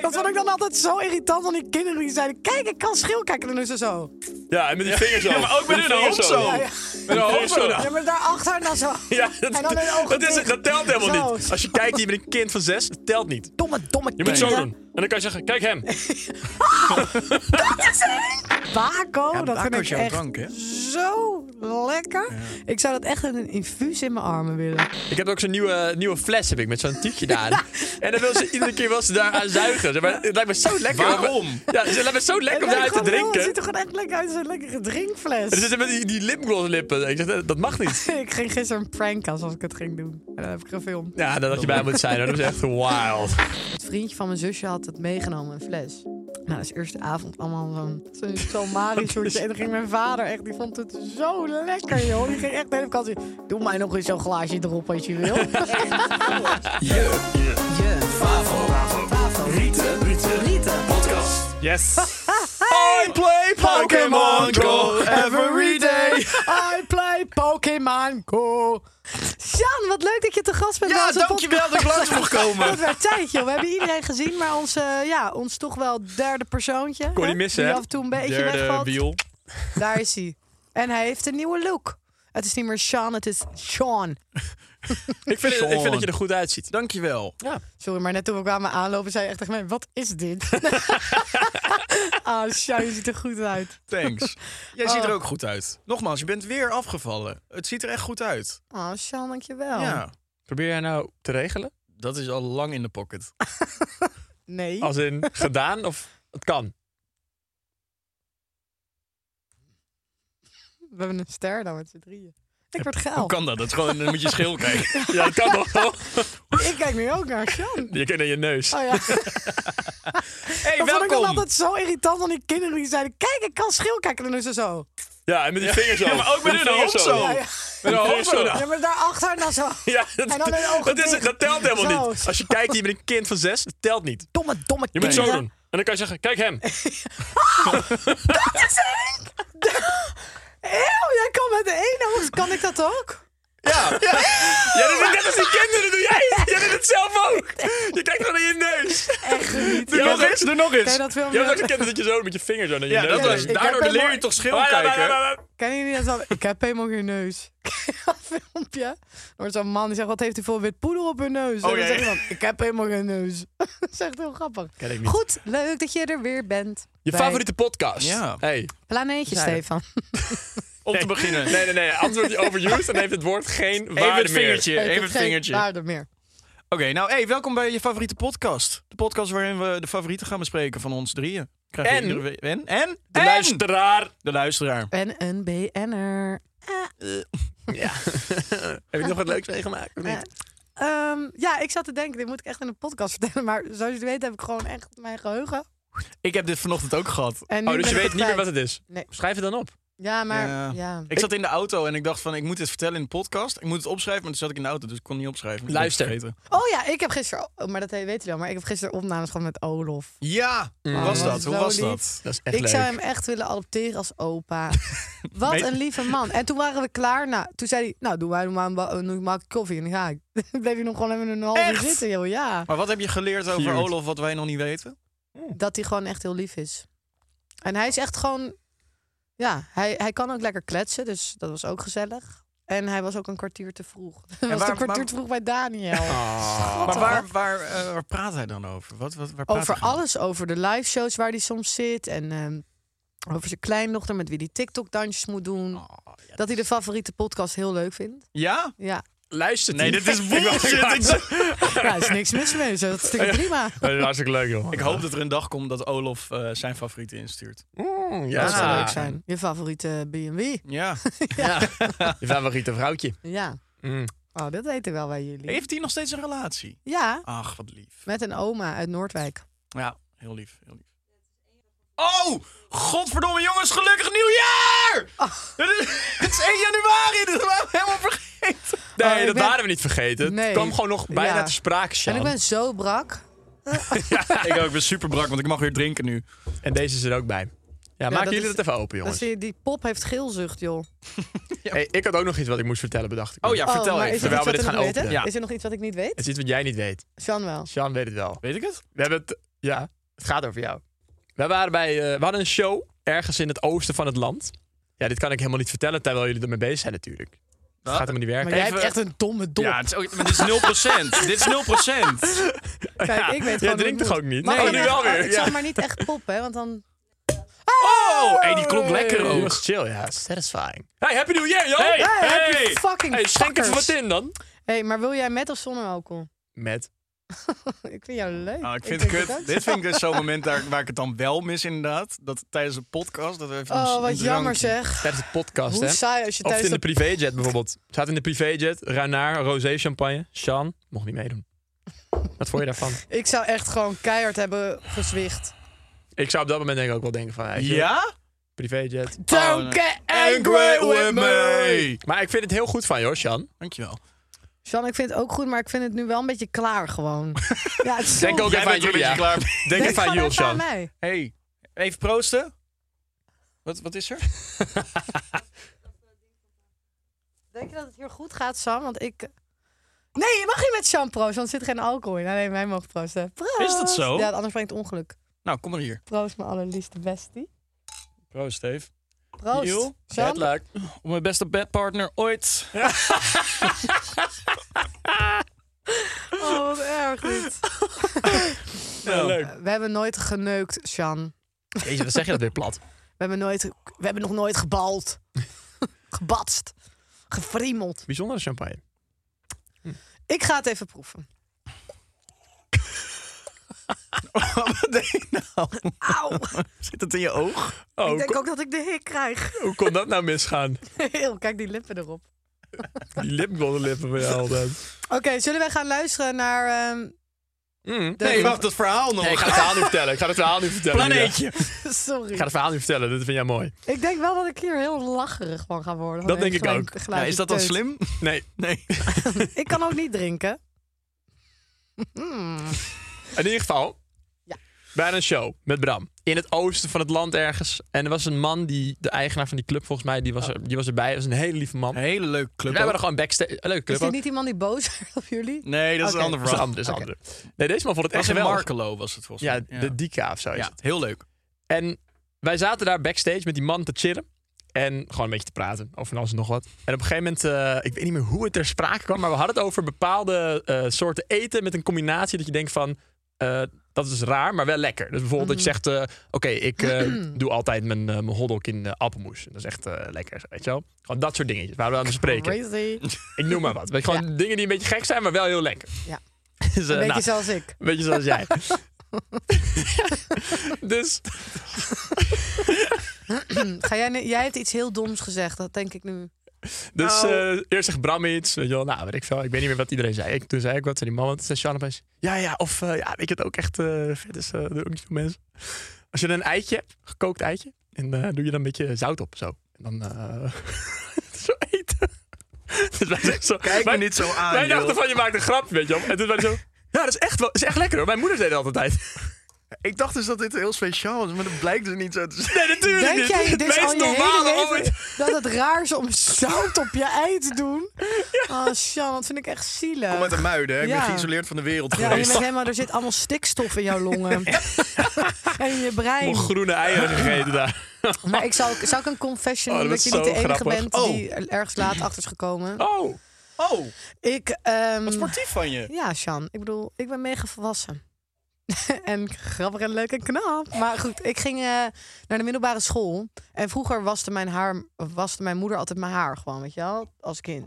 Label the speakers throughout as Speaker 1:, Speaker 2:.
Speaker 1: Dat vond ik dan altijd zo irritant van die kinderen die zeiden... Kijk, ik kan schil kijken. En dan is ze zo.
Speaker 2: Ja, en met die vingers zo.
Speaker 3: Ja, maar ook met hun hoofd zo.
Speaker 1: Ja, ja.
Speaker 3: Met hun hoofd zo.
Speaker 1: Ja, maar daarachter en dan zo.
Speaker 3: Ja,
Speaker 1: en
Speaker 3: dat,
Speaker 1: dan hun ogen
Speaker 3: dat, is,
Speaker 1: dicht.
Speaker 3: dat telt helemaal
Speaker 1: Zo.
Speaker 3: niet. Als je kijkt hier met een kind van zes, dat telt niet.
Speaker 1: Domme, domme
Speaker 3: Je moet zo doen. En dan kan je zeggen, kijk hem.
Speaker 1: Baco, dat
Speaker 2: Baco
Speaker 1: vind ik
Speaker 2: is jouw
Speaker 1: echt
Speaker 2: drank, hè?
Speaker 1: zo lekker. Ik zou dat echt in een infuus in mijn armen willen.
Speaker 3: Ik heb ook zo'n nieuwe, nieuwe fles heb ik, met zo'n tietje daarin. En dan wil ze iedere keer wel ze daaraan zuigen. Zeg maar, het lijkt me zo lekker. om-
Speaker 2: Waarom?
Speaker 3: Ja, het lijkt me zo lekker om
Speaker 1: En dan
Speaker 3: daaruit te
Speaker 1: gewoon, joh,
Speaker 3: drinken.
Speaker 1: Het ziet er gewoon echt lekker uit als een lekkere drinkfles.
Speaker 3: Er zitten met die, die lipgloss lippen. Ik zeg, dat, dat mag niet.
Speaker 1: Ik ging gisteren een prank als als ik het ging doen. En dan heb ik gefilmd.
Speaker 3: Ja, dat had je bij moet zijn. hoor. Dat is echt wild.
Speaker 1: Het vriendje van mijn zusje had het meegenomen, een fles. Nou, dat is eerste avond allemaal zo'n zo'n salmari soortje. En dan ging mijn vader echt, die vond het zo lekker, joh. Die ging echt de hele kant in. Doe mij nog eens zo'n glaasje erop als je wil.
Speaker 2: Yes.
Speaker 3: I play Pokémon Go every day.
Speaker 1: I play Pokémon Go. Sjaan, wat leuk dat je te gast bent. bij
Speaker 2: Ja,
Speaker 1: onze
Speaker 2: dankjewel dat ik
Speaker 1: podcast.
Speaker 2: langs mocht komen.
Speaker 1: Wat werd tijd, joh. We hebben iedereen gezien, maar ons, eh, ja, ons toch wel derde persoontje.
Speaker 3: Kon
Speaker 1: hè,
Speaker 3: niet missen,
Speaker 1: Die
Speaker 3: hè?
Speaker 1: af en toe een beetje
Speaker 3: Derde
Speaker 1: wegvalt.
Speaker 3: wiel.
Speaker 1: Daar is hij. En hij heeft een nieuwe look. Het is niet meer Sean, het is Sean.
Speaker 3: Ik vind, het- ik vind dat je er goed uitziet.
Speaker 2: Dankjewel.
Speaker 1: Sorry, maar net toen we kwamen aanlopen, zei je echt tegen mij: Wat is dit? ah, Sean, je ziet er goed uit.
Speaker 2: Thanks. Jij ziet
Speaker 1: Oh.
Speaker 2: er ook goed uit. Nogmaals, je bent weer afgevallen. Het ziet er echt goed uit.
Speaker 1: Ah, Sean, dankjewel.
Speaker 2: Ja.
Speaker 3: Probeer jij nou te regelen?
Speaker 2: Dat is al lang in de pocket.
Speaker 1: Nee.
Speaker 3: Als in gedaan of het kan?
Speaker 1: We hebben een ster dan met z'n drieën. Ik word
Speaker 2: Hoe
Speaker 1: geil.
Speaker 2: kan dat? Dat is gewoon, dan moet je schil krijgen.
Speaker 3: Ja, het kan wel.
Speaker 1: Ik kijk nu ook naar Sean.
Speaker 3: Je kent aan je neus.
Speaker 1: Oh ja.
Speaker 2: hey,
Speaker 1: dat vond ik dan
Speaker 2: welkom.
Speaker 1: altijd zo irritant van die kinderen die zeiden: Kijk, ik kan schil kijken. En dan is ze zo.
Speaker 3: Ja, en met die vingers zo.
Speaker 2: Ja, maar ook met hun
Speaker 3: vingers
Speaker 2: hoofd zo.
Speaker 1: Ja, ja.
Speaker 3: Met hun hoofd zo.
Speaker 1: Ja, maar daarachter en dan zo.
Speaker 3: Ja, dat,
Speaker 1: En dan hun ogen
Speaker 3: dat, is,
Speaker 1: dicht.
Speaker 3: dat telt helemaal
Speaker 1: Zo.
Speaker 3: niet. Als je kijkt hier met een kind van zes, dat telt niet.
Speaker 1: Domme, domme
Speaker 3: Je moet zo doen. En dan kan je zeggen, kijk hem.
Speaker 1: Eeuw, jij kan met de ene oog. Kan ik dat ook?
Speaker 3: Ja. ja. Jij doet het net als die kinderen, doe jij. Jij doet het zelf ook. Je kijkt gewoon in je neus.
Speaker 1: Echt niet.
Speaker 3: Doe nog eens, doe nog
Speaker 1: Ken je
Speaker 3: eens.
Speaker 1: dat filmpje?
Speaker 3: Jij was ook een kind dat je zo met je vinger zo naar je
Speaker 2: Ja,
Speaker 3: neus
Speaker 2: dat was,
Speaker 1: Ik heb
Speaker 2: daardoor
Speaker 1: helemaal-
Speaker 2: leer je toch schil
Speaker 3: Ah, ja, ja,
Speaker 2: kijken.
Speaker 3: ja, ja.
Speaker 1: Kennen jullie dat? wel? Ik heb helemaal geen neus. Ken je dat filmpje? Dan wordt zo'n man die zegt, wat heeft hij voor wit poeder op hun
Speaker 3: Oh,
Speaker 1: neus? en
Speaker 2: ja,
Speaker 1: dan
Speaker 2: ja.
Speaker 1: zegt iemand, ik heb helemaal geen neus. dat is echt heel grappig.
Speaker 3: Ken ik niet.
Speaker 1: Goed, leuk dat je er weer bent.
Speaker 3: Je
Speaker 1: Bij
Speaker 3: favoriete podcast.
Speaker 2: Ja.
Speaker 3: Hey.
Speaker 1: Planeetje,
Speaker 3: Ja.
Speaker 1: Stefan.
Speaker 2: Om te beginnen.
Speaker 3: Nee, nee, nee. Anders wordt hij overused en heeft het woord geen waarde
Speaker 2: Even het
Speaker 3: meer.
Speaker 2: vingertje.
Speaker 1: Ik
Speaker 2: Even
Speaker 1: heb
Speaker 2: het
Speaker 1: geen
Speaker 2: vingertje. Oké,
Speaker 1: Waarde meer.
Speaker 2: nou hey, welkom bij je favoriete podcast. De podcast waarin we de favorieten gaan bespreken van ons drieën. Krijg je
Speaker 3: En?
Speaker 2: iedere week- en? En?
Speaker 3: De
Speaker 2: En?
Speaker 3: luisteraar.
Speaker 2: De luisteraar.
Speaker 1: En een BN'er.
Speaker 3: Ja. Heb ik nog wat leuks meegemaakt? Of niet?
Speaker 1: Ehm, ja, ik zat te denken, dit moet ik echt in een podcast vertellen. Maar zoals jullie weten heb ik gewoon echt mijn geheugen.
Speaker 2: Ik heb dit vanochtend ook gehad.
Speaker 1: En nu ben
Speaker 3: Oh, dus je
Speaker 1: ik
Speaker 3: weet
Speaker 1: het
Speaker 3: niet meer
Speaker 1: kwijt.
Speaker 3: wat het is?
Speaker 1: Nee.
Speaker 3: Schrijf het dan op.
Speaker 1: Ja, maar...
Speaker 2: Ja.
Speaker 1: Ja.
Speaker 2: Ik zat in de auto en ik dacht van, ik moet dit vertellen in de podcast. Ik moet het opschrijven, maar toen zat ik in de auto, dus ik kon niet opschrijven. Ik ben het
Speaker 3: Luister.
Speaker 2: vergeten.
Speaker 1: Oh ja, ik heb gisteren... oh, maar dat weet je wel. Maar ik heb gisteren opnames gehad met Olof.
Speaker 2: Ja, hoe
Speaker 1: Oh,
Speaker 2: was
Speaker 1: wat
Speaker 2: dat? Hoe
Speaker 1: zo
Speaker 2: was
Speaker 1: lief.
Speaker 2: dat?
Speaker 3: Dat is echt
Speaker 1: Ik
Speaker 3: leuk.
Speaker 1: zou hem echt willen adopteren als opa. Wat
Speaker 2: Nee.
Speaker 1: een lieve man. En toen waren we klaar. Nou, toen zei hij, nou, doe maar, doe maar een, ba- een- doe maar een koffie en dan ga ik. Dan bleef hij nog gewoon even een half uur
Speaker 2: Echt?
Speaker 1: zitten, joh. Ja.
Speaker 2: Maar wat heb je geleerd over
Speaker 3: Cute.
Speaker 2: Olof wat wij nog niet weten?
Speaker 1: Dat hij gewoon echt heel lief is. En hij is echt gewoon... Ja, hij, hij kan ook lekker kletsen, dus dat was ook gezellig. En hij was ook een kwartier te vroeg. Hij was
Speaker 2: waar-
Speaker 1: een kwartier
Speaker 2: maar-
Speaker 1: te vroeg bij Daniel.
Speaker 2: Maar waar, waar, eh, waar praat hij dan over? Wat, wat, waar praat
Speaker 1: Over
Speaker 2: hij dan?
Speaker 1: alles. Over de live shows waar hij soms zit. En ehm, over zijn kleindochter met wie hij TikTok-dansjes moet doen. dat hij de favoriete podcast heel leuk vindt.
Speaker 2: Ja?
Speaker 1: Ja,
Speaker 3: Luister.
Speaker 2: Nee, dit is bullshit. Ik,
Speaker 1: ja er is niks mis mee. zo. Dat is natuurlijk prima.
Speaker 3: Dat is hartstikke leuk, joh.
Speaker 2: ik hoop dat er een dag komt dat Olof eh, zijn favorieten instuurt.
Speaker 3: Mm, ja.
Speaker 1: Dat zou leuk zijn. Je favoriete B&W.
Speaker 2: Ja.
Speaker 3: Ja. Je favoriete vrouwtje.
Speaker 1: Ja.
Speaker 3: Mm.
Speaker 1: Oh, dat weten wel wij jullie.
Speaker 2: Heeft hij nog steeds een relatie?
Speaker 1: Ja,
Speaker 2: Ach, wat lief.
Speaker 1: met een oma uit Noordwijk.
Speaker 2: Ja, heel lief. Heel lief. Oh! Godverdomme jongens, gelukkig nieuwjaar! Het, is, het is 1 januari,
Speaker 3: dus
Speaker 2: dat waren we helemaal vergeten.
Speaker 3: Nee,
Speaker 1: Oh, ik
Speaker 3: dat
Speaker 1: ben-
Speaker 3: waren we niet vergeten.
Speaker 1: Nee.
Speaker 3: Het kwam gewoon nog bijna
Speaker 1: Ja.
Speaker 3: te sprake, Sjan.
Speaker 1: En ik ben zo brak.
Speaker 2: ik ook, ik ben super brak, want ik mag weer drinken nu.
Speaker 3: En deze is er ook bij. Ja,
Speaker 1: dat
Speaker 3: maken jullie
Speaker 1: is-
Speaker 3: het even open,
Speaker 1: Dat
Speaker 3: jongens.
Speaker 1: zie je, die pop heeft geelzucht, joh.
Speaker 3: Hey, ik had ook nog iets wat ik moest vertellen, bedacht ik.
Speaker 2: Oh ja, vertel
Speaker 1: maar
Speaker 2: even.
Speaker 1: Is er,
Speaker 3: terwijl
Speaker 1: iets wat
Speaker 3: we dit
Speaker 1: er
Speaker 3: gaan
Speaker 1: nog weten?
Speaker 3: openen.
Speaker 2: Ja.
Speaker 1: is er nog iets wat ik niet weet?
Speaker 3: Het is iets wat jij niet weet.
Speaker 1: Sean wel.
Speaker 3: Sjan weet het wel.
Speaker 2: Weet ik het?
Speaker 3: We hebben het... Ja, het gaat over jou. We, waren bij, eh, we hadden een show ergens in het oosten van het land. Ja, dit kan ik helemaal niet vertellen terwijl jullie ermee bezig zijn natuurlijk. Dat
Speaker 2: Wat?
Speaker 3: gaat helemaal niet werken.
Speaker 1: Maar jij
Speaker 2: Even-
Speaker 1: hebt echt een domme dop.
Speaker 2: Ja, het is ook, maar dit is 0%. dit is 0%.
Speaker 1: Kijk, ik weet
Speaker 3: Jij
Speaker 1: gewoon
Speaker 3: drinkt
Speaker 1: hoe
Speaker 3: toch
Speaker 1: het
Speaker 3: ook
Speaker 1: moet.
Speaker 3: niet?
Speaker 1: Maar
Speaker 3: Nee,
Speaker 1: gewoon
Speaker 3: nu wel
Speaker 1: echt-
Speaker 3: weer.
Speaker 1: Het is
Speaker 3: Ja.
Speaker 1: maar niet echt pop, hè? Want dan...
Speaker 2: Oh! Hé, die klonk lekker
Speaker 3: Hey, die
Speaker 2: ook.
Speaker 3: was chill, ja. Satisfying. Hey, happy new year, joh!
Speaker 2: Hey,
Speaker 1: Hey,
Speaker 2: hey.
Speaker 1: heb je fucking
Speaker 3: Hey, schenk even
Speaker 1: fuckers.
Speaker 3: wat in dan.
Speaker 1: hey, maar wil jij met of zonder alcohol?
Speaker 3: Met.
Speaker 1: ik vind jou leuk.
Speaker 3: Ah,
Speaker 2: Nou, ik vind het
Speaker 1: drink het
Speaker 2: kut.
Speaker 1: ook.
Speaker 2: Dit vind ik dus zo'n moment daar, waar ik het dan wel mis, inderdaad. Dat tijdens een podcast. Dat we even een-
Speaker 1: Oh,
Speaker 2: een
Speaker 1: wat jammer
Speaker 2: drankje-
Speaker 1: zeg.
Speaker 3: Tijdens de podcast,
Speaker 1: Hoe
Speaker 3: hè.
Speaker 1: saai als je
Speaker 3: Of
Speaker 1: thuis...
Speaker 3: in de
Speaker 1: dat-
Speaker 3: privéjet bijvoorbeeld. Zaten in de privéjet, Ruinaar, rosé champagne. Sean mocht niet meedoen. Wat vond je daarvan?
Speaker 1: Ik zou echt gewoon keihard hebben
Speaker 3: Oh,
Speaker 1: gezwicht.
Speaker 3: Ik zou op dat moment denk ik ook wel denken van... weet je,
Speaker 2: Ja?
Speaker 3: Privéjet.
Speaker 2: Don't
Speaker 1: get
Speaker 3: Maar ik vind het heel goed van jou, Sean.
Speaker 2: Dankjewel.
Speaker 1: Sean, ik vind het ook goed, maar ik vind het nu wel een beetje klaar gewoon. ja, het is
Speaker 3: Denk
Speaker 1: zo-
Speaker 3: ook
Speaker 2: Jij
Speaker 3: even aan
Speaker 2: bent
Speaker 3: Julia.
Speaker 2: er een beetje klaar mee.
Speaker 3: Denk even aan
Speaker 1: gewoon
Speaker 3: jou,
Speaker 1: even aan
Speaker 3: Sean.
Speaker 1: mij.
Speaker 2: Hey, even proosten. Wat, wat is er?
Speaker 1: Denk je dat het hier goed gaat, Sam? Want ik... Nee, je mag niet met Sean proosten, want er zit geen alcohol in. Alleen wij mogen proosten. Proost!
Speaker 2: Is dat zo?
Speaker 1: Ja, anders brengt het ongeluk.
Speaker 2: Nou, kom maar hier.
Speaker 1: Proost, mijn allerliefste bestie.
Speaker 2: Proost, Steve.
Speaker 1: Proost.
Speaker 2: Joe,
Speaker 1: Sean,
Speaker 3: leuk.
Speaker 2: Op mijn beste bedpartner ooit.
Speaker 1: oh, wat erg dit.
Speaker 2: Nou,
Speaker 3: leuk.
Speaker 1: We hebben nooit geneukt, Sean.
Speaker 3: Jezus, wat zeg je dat weer plat.
Speaker 1: We hebben, nooit, we hebben nog nooit gebald. Gebatst. Gefriemeld.
Speaker 3: Bijzondere champagne.
Speaker 1: Ik ga het even proeven.
Speaker 2: Wat deed je nou?
Speaker 1: Auw.
Speaker 2: Zit het in je oog?
Speaker 3: Oh,
Speaker 1: ik
Speaker 3: hoe,
Speaker 1: denk ook dat ik de hik krijg.
Speaker 2: Oh.
Speaker 3: kon- hoe kon dat nou misgaan?
Speaker 1: Heel, kijk die lippen erop.
Speaker 3: Die lipblonde lippen van jou altijd.
Speaker 1: Oké, zullen wij gaan luisteren naar... ehm,
Speaker 3: Mm.
Speaker 1: de-
Speaker 2: Nee, wacht, dat verhaal nog.
Speaker 3: Nee, ik ga het verhaal nu vertellen. Ik ga het verhaal nu vertellen. Julia.
Speaker 2: Planeetje.
Speaker 3: Ik ga
Speaker 1: Sorry.
Speaker 3: het verhaal nu vertellen. Dat vind jij mooi.
Speaker 1: Ik denk wel dat ik hier heel lacherig van ga worden.
Speaker 3: Dat
Speaker 1: Van
Speaker 3: denk ik
Speaker 1: gelijk-
Speaker 3: ook.
Speaker 1: gelijk
Speaker 2: Ja, is dat dan
Speaker 1: teut.
Speaker 2: slim?
Speaker 3: Nee.
Speaker 2: Nee.
Speaker 1: Ik kan ook niet drinken. Mm.
Speaker 3: In ieder geval,
Speaker 1: Ja.
Speaker 3: bij een show met Bram. In het oosten van het land ergens. En er was een man, die, de eigenaar van die club volgens mij, die was,
Speaker 1: Oh.
Speaker 3: er, die was erbij. Dat was een hele lieve man.
Speaker 2: Hele leuke club.
Speaker 3: We hebben er
Speaker 2: ook.
Speaker 3: gewoon backstage. Een leuke
Speaker 1: Is
Speaker 3: club
Speaker 1: dit
Speaker 3: ook.
Speaker 1: niet iemand die boos werd op jullie?
Speaker 2: Nee, dat is
Speaker 1: Oké.
Speaker 2: een ander
Speaker 3: Dat is
Speaker 2: verhaal.
Speaker 3: een andere.
Speaker 1: Oké.
Speaker 3: dat is een andere. Nee, deze man vond het echt
Speaker 2: Was in
Speaker 3: geweldig.
Speaker 2: Markelo was het volgens
Speaker 3: Ja,
Speaker 2: mij.
Speaker 3: de Dika of zo is
Speaker 2: Ja,
Speaker 3: het.
Speaker 2: heel leuk.
Speaker 3: En wij zaten daar backstage met die man te chillen. En gewoon een beetje te praten over van alles en nog wat. En op een gegeven moment, eh, ik weet niet meer hoe het ter sprake kwam, maar we hadden het over bepaalde eh, soorten eten met een combinatie dat je denkt van, eh, dat is raar, maar wel lekker. Dus bijvoorbeeld
Speaker 1: Mhm.
Speaker 3: dat je zegt, eh, oké, ik eh, doe altijd mijn, eh, mijn hotdog in eh, appelmoes. Dat is echt eh, lekker, weet je wel. Gewoon dat soort dingetjes waar we aan het spreken.
Speaker 1: Crazy.
Speaker 3: Ik noem maar wat. Weet je, gewoon dingen die een beetje gek zijn, maar wel heel lekker.
Speaker 1: Ja.
Speaker 3: Dus, eh,
Speaker 1: Een beetje
Speaker 3: nou,
Speaker 1: zoals ik.
Speaker 3: een beetje zoals jij. dus
Speaker 1: Ga jij, nu- jij hebt iets heel doms gezegd, dat denk ik nu.
Speaker 3: Dus
Speaker 2: Nou.
Speaker 3: eh, eerst zegt Bram iets, weet je wel, nou, weet ik veel. Ik weet niet meer wat iedereen zei. Ik, toen zei ik wat, zei die man, wat toen zei Sean opeens, ja, ja, of eh, ja, weet je het ook echt eh, vet is, eh, doen ook niet veel mensen. Als je dan een eitje hebt, gekookt eitje, en eh, doe je dan een beetje zout op, zo. En dan eh, zo eten. Dus wij zijn zo,
Speaker 2: Kijk me
Speaker 3: wij,
Speaker 2: niet zo aan,
Speaker 3: Wij dachten
Speaker 2: joh.
Speaker 3: van, je maakt een grapje, weet je wel. En toen waren we zo, ja, dat is echt, wel, is echt lekker hoor. Mijn moeder deed dat altijd.
Speaker 2: Ik dacht dus dat dit heel speciaal was, maar dat blijkt dus niet zo te zijn.
Speaker 3: Nee, natuurlijk
Speaker 1: Denk
Speaker 3: niet.
Speaker 1: jij
Speaker 3: het
Speaker 1: dit is
Speaker 3: meest
Speaker 1: al je
Speaker 3: normale
Speaker 1: hele leven
Speaker 3: ooit.
Speaker 1: dat het raar is om zout op je ei te doen? Oh, Sjan, dat vind ik echt zielig.
Speaker 2: Kom uit de muiden, hè? ik
Speaker 1: Ja.
Speaker 2: ben geïsoleerd van de wereld
Speaker 1: Ja, je
Speaker 2: geweest.
Speaker 1: bent helemaal, er zit allemaal stikstof in jouw longen. en in je brein.
Speaker 3: Nog groene eieren gegeten daar.
Speaker 1: Maar ik zou, zou ik een confession
Speaker 3: Oh,
Speaker 1: doen
Speaker 3: dat
Speaker 1: dat je niet
Speaker 3: is
Speaker 1: de
Speaker 3: zo
Speaker 1: enige
Speaker 3: grappig.
Speaker 1: bent
Speaker 2: Oh.
Speaker 1: die er ergens laat achter is gekomen?
Speaker 3: Oh,
Speaker 2: Oh,
Speaker 1: Ik, ehm,
Speaker 2: wat sportief van je.
Speaker 1: ja, Sjan, ik bedoel, ik ben mega volwassen. en grappig en leuk en knap. Maar goed, ik ging eh, naar de middelbare school. En vroeger waste mijn, haar, waste mijn moeder altijd mijn haar gewoon, weet je wel, als kind.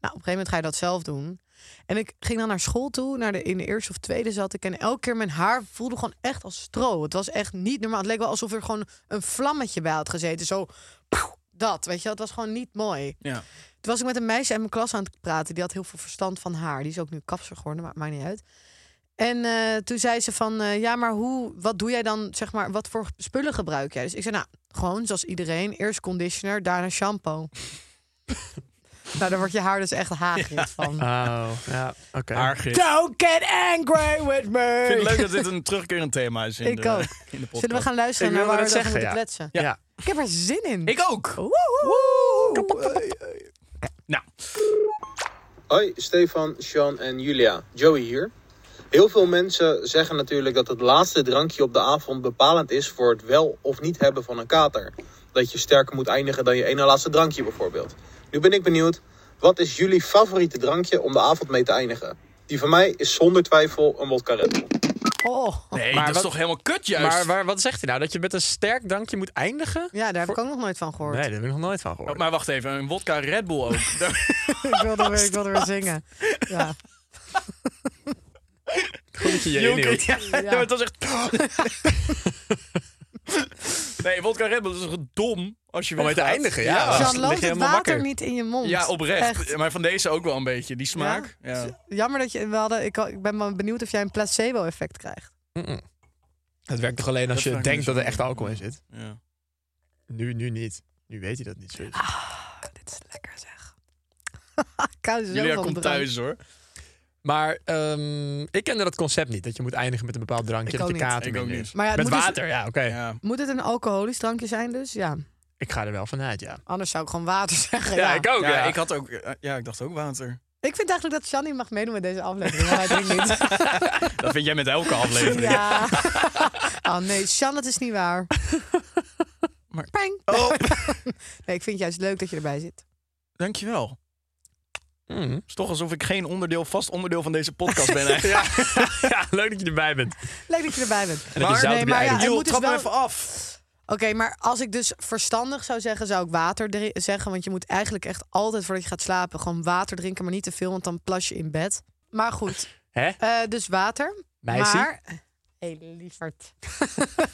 Speaker 1: Nou, op een gegeven moment ga je dat zelf doen. En ik ging dan naar school toe, naar de, in de eerste of tweede zat ik. En elke keer mijn haar voelde gewoon echt als stro. Het was echt niet normaal. Het leek wel alsof er gewoon een vlammetje bij had gezeten. Zo, poeh, dat, weet je wel. Het was gewoon niet mooi.
Speaker 2: Ja.
Speaker 1: Toen was ik met een meisje uit mijn klas aan het praten. Die had heel veel verstand van haar. Die is ook nu kapster geworden, maar maakt niet uit. En eh, toen zei ze van, eh, ja, maar hoe, wat doe jij dan, zeg maar, wat voor spullen gebruik jij? Dus ik zei, nou, gewoon zoals iedereen, eerst conditioner, daarna shampoo. nou, daar wordt je haar dus echt haagjes van.
Speaker 3: oh ja, oké.
Speaker 2: Haargif.
Speaker 1: Don't get angry with me!
Speaker 2: Ik vind het leuk dat dit een terugkerend thema is in,
Speaker 1: Ik
Speaker 2: de,
Speaker 1: ook.
Speaker 2: in de podcast.
Speaker 1: Zullen we gaan luisteren
Speaker 3: Ik
Speaker 1: naar
Speaker 3: wilde
Speaker 1: waar we
Speaker 3: net
Speaker 1: zeggen, moeten
Speaker 3: zeggen, ja.
Speaker 1: kletsen?
Speaker 3: Ja.
Speaker 1: Ik heb er zin in.
Speaker 2: Ik ook.
Speaker 1: Woe, woe, woe.
Speaker 2: Nou,
Speaker 4: Hoi, Stefan, Sean en Julia. Joey hier. Heel veel mensen zeggen natuurlijk dat het laatste drankje op de avond bepalend is voor het wel of niet hebben van een kater. Dat je sterker moet eindigen dan je ene laatste drankje bijvoorbeeld. Nu ben ik benieuwd, wat is jullie favoriete drankje om de avond mee te eindigen? Die van mij is zonder twijfel een wodka Red Bull.
Speaker 1: Oh.
Speaker 2: nee,
Speaker 3: Maar
Speaker 2: dat
Speaker 3: wat-
Speaker 2: is toch helemaal kut juist.
Speaker 3: Eh, Maar, waar- wat zegt hij nou? Dat je met een sterk drankje moet eindigen?
Speaker 1: Ja, daar heb ik ook nog nooit van gehoord.
Speaker 3: Nee, daar heb ik nog nooit van gehoord.
Speaker 2: Oh, maar wacht even, een wodka Red Bull ook.
Speaker 1: ik, wilde weer, ik wilde weer zingen. Ja.
Speaker 3: Goed dat je je
Speaker 2: Jonker,
Speaker 3: inhield.
Speaker 2: ja, ja. maar het was echt... nee, wodka Red Bull is toch dom als je
Speaker 3: Om mee te
Speaker 2: weggaat?
Speaker 3: eindigen, ja. Dan
Speaker 2: Ja,
Speaker 1: Jan,
Speaker 3: lig je
Speaker 1: loopt het
Speaker 3: helemaal
Speaker 1: water
Speaker 3: wakker.
Speaker 1: niet in je mond.
Speaker 2: Ja, oprecht.
Speaker 1: Echt.
Speaker 2: Maar van deze ook wel een beetje, die smaak. Ja.
Speaker 1: Z- Jammer dat je... We hadden, ik, ik ben wel benieuwd of jij een placebo-effect krijgt.
Speaker 3: Het werkt toch alleen als
Speaker 2: Dat
Speaker 3: je
Speaker 2: vraag ik
Speaker 3: denkt
Speaker 2: me
Speaker 3: dat er
Speaker 2: zo
Speaker 3: echt
Speaker 2: af.
Speaker 3: alcohol in zit?
Speaker 2: Ja.
Speaker 3: Nu, nu niet. Nu weet hij dat niet. zoiets.
Speaker 1: Oh, dit is lekker zeg. ik hou zo
Speaker 2: Julia
Speaker 1: van
Speaker 2: komt
Speaker 1: drank.
Speaker 2: thuis hoor.
Speaker 3: Maar ehm, ik kende dat concept niet. Dat je moet eindigen met een bepaald drankje.
Speaker 1: Ik
Speaker 3: dat
Speaker 1: ook
Speaker 3: de
Speaker 1: niet.
Speaker 3: kater
Speaker 2: Ik ook
Speaker 3: minder
Speaker 2: niet.
Speaker 3: is.
Speaker 1: Maar ja, het
Speaker 3: met
Speaker 1: moet dus-
Speaker 3: water, ja, oké.
Speaker 2: Ja.
Speaker 1: Moet het een alcoholisch drankje zijn dus? Ja.
Speaker 3: Ik ga er wel vanuit, ja.
Speaker 1: Anders zou ik gewoon water zeggen.
Speaker 3: Ja,
Speaker 1: Ja,
Speaker 3: ik ook, ja.
Speaker 2: Ja, ik had ook, eh, ja, ik dacht ook water.
Speaker 1: Ik vind eigenlijk dat Shani mag meedoen met deze aflevering. Maar hij drinkt niet.
Speaker 2: Dat vind jij met elke aflevering.
Speaker 1: Ja. Oh nee, Shan, dat is niet waar.
Speaker 2: Maar-
Speaker 1: Peng.
Speaker 2: Oh,
Speaker 1: Nee, ik vind het juist leuk dat je erbij zit.
Speaker 2: dankjewel. Het
Speaker 3: Mm.
Speaker 2: is toch alsof ik geen onderdeel, vast onderdeel van deze podcast ben eigenlijk.
Speaker 3: Ja. Ja, leuk dat je erbij bent.
Speaker 1: Leuk dat je erbij bent.
Speaker 3: En dat je zout
Speaker 1: nee,
Speaker 3: op je
Speaker 1: maar
Speaker 3: ei
Speaker 1: ja,
Speaker 3: doet.
Speaker 1: het
Speaker 2: Joh,
Speaker 1: moet dus
Speaker 2: trap me
Speaker 1: wel-
Speaker 2: even af.
Speaker 1: Oké, maar als ik dus verstandig zou zeggen, zou ik water dri- zeggen. Want je moet eigenlijk echt altijd voordat je gaat slapen gewoon water drinken, maar niet te veel, want dan plas je in bed. Maar goed,
Speaker 3: Hè?
Speaker 1: eh, dus water.
Speaker 3: Meisje?
Speaker 1: Maar. Hé, hey, lieverd.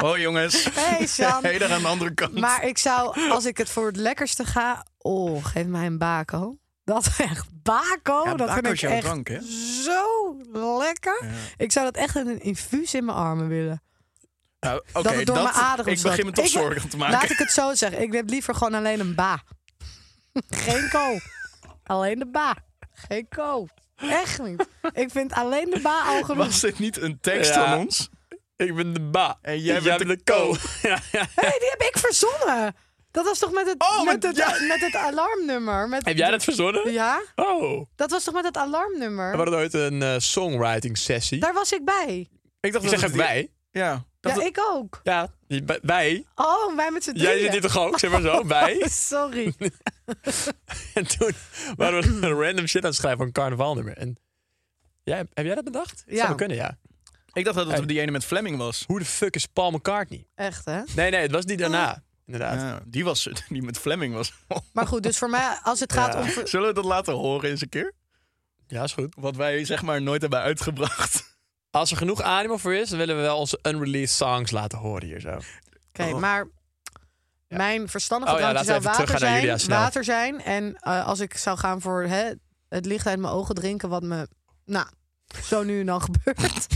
Speaker 2: Oh jongens.
Speaker 1: Ah. Hey, Sam.
Speaker 2: Hey, daar aan de andere kant.
Speaker 1: Maar ik zou, als ik het voor het lekkerste ga, oh, geef mij een bako. Dat echt bako,
Speaker 2: Ja,
Speaker 1: dat
Speaker 2: Baco
Speaker 1: vind
Speaker 2: is
Speaker 1: ik
Speaker 2: jouw
Speaker 1: echt
Speaker 2: drank, hè?
Speaker 1: zo lekker.
Speaker 2: Ja.
Speaker 1: Ik zou dat echt in een infuus in mijn armen willen.
Speaker 2: Nou, Oké,
Speaker 1: dat het door mijn aderen
Speaker 2: Ik begin me toch zorgen te maken.
Speaker 1: Laat ik het zo zeggen. Ik heb liever gewoon alleen een ba. Geen ko. Alleen de ba. Geen ko. Echt niet. Ik vind alleen de ba al genoeg.
Speaker 2: Was dit niet een tekst
Speaker 3: Ja.
Speaker 2: van ons?
Speaker 3: Ik ben de ba.
Speaker 2: En jij bent de ko.
Speaker 3: Ja, ja.
Speaker 1: Hé, die heb ik verzonnen. Dat was toch met het,
Speaker 2: Oh,
Speaker 1: met
Speaker 2: met-
Speaker 1: het,
Speaker 2: ja.
Speaker 1: met het alarmnummer? Met
Speaker 3: Heb jij dat verzonnen?
Speaker 1: Ja,
Speaker 3: Oh.
Speaker 1: dat was toch met het alarmnummer?
Speaker 3: We hadden ooit een eh, songwriting sessie.
Speaker 1: Daar was ik bij.
Speaker 2: Ik dacht
Speaker 3: Ik zeg ook
Speaker 2: het-
Speaker 3: wij.
Speaker 2: Ja.
Speaker 1: Ja,
Speaker 2: Dat het-
Speaker 1: ik ook.
Speaker 3: Ja, die- bij- wij.
Speaker 1: Oh, wij met z'n
Speaker 3: Jij
Speaker 1: drieën.
Speaker 3: zit hier toch ook, zeg maar zo, wij.
Speaker 1: Sorry.
Speaker 3: En toen waren we random shit aan het schrijven van een carnavalnummer. En jij, heb jij dat bedacht?
Speaker 1: Ja.
Speaker 3: Zou wel kunnen, ja.
Speaker 2: ik dacht dat het die ene met Fleming was.
Speaker 3: Hoe de fuck is Paul McCartney?
Speaker 1: Echt, hè?
Speaker 3: Nee, nee, het was die daarna. Inderdaad.
Speaker 2: Ja, die was het, die met Fleming was.
Speaker 1: Maar goed, dus voor mij, als het gaat
Speaker 3: Ja.
Speaker 1: om... ver-
Speaker 2: Zullen we dat laten horen eens een keer?
Speaker 3: Ja, is goed.
Speaker 2: Wat wij zeg maar nooit hebben uitgebracht.
Speaker 3: Als er genoeg animo voor is, dan willen we wel onze unreleased songs laten horen hier zo.
Speaker 1: Oké, maar mijn verstandige
Speaker 3: Oh ja,
Speaker 1: drankje
Speaker 3: laten we
Speaker 1: zou
Speaker 3: even
Speaker 1: water
Speaker 3: teruggaan naar
Speaker 1: zijn,
Speaker 3: Julia, snel.
Speaker 1: water zijn. En eh, als ik zou gaan voor hè, het licht uit mijn ogen drinken, wat me nou, zo nu en dan gebeurt,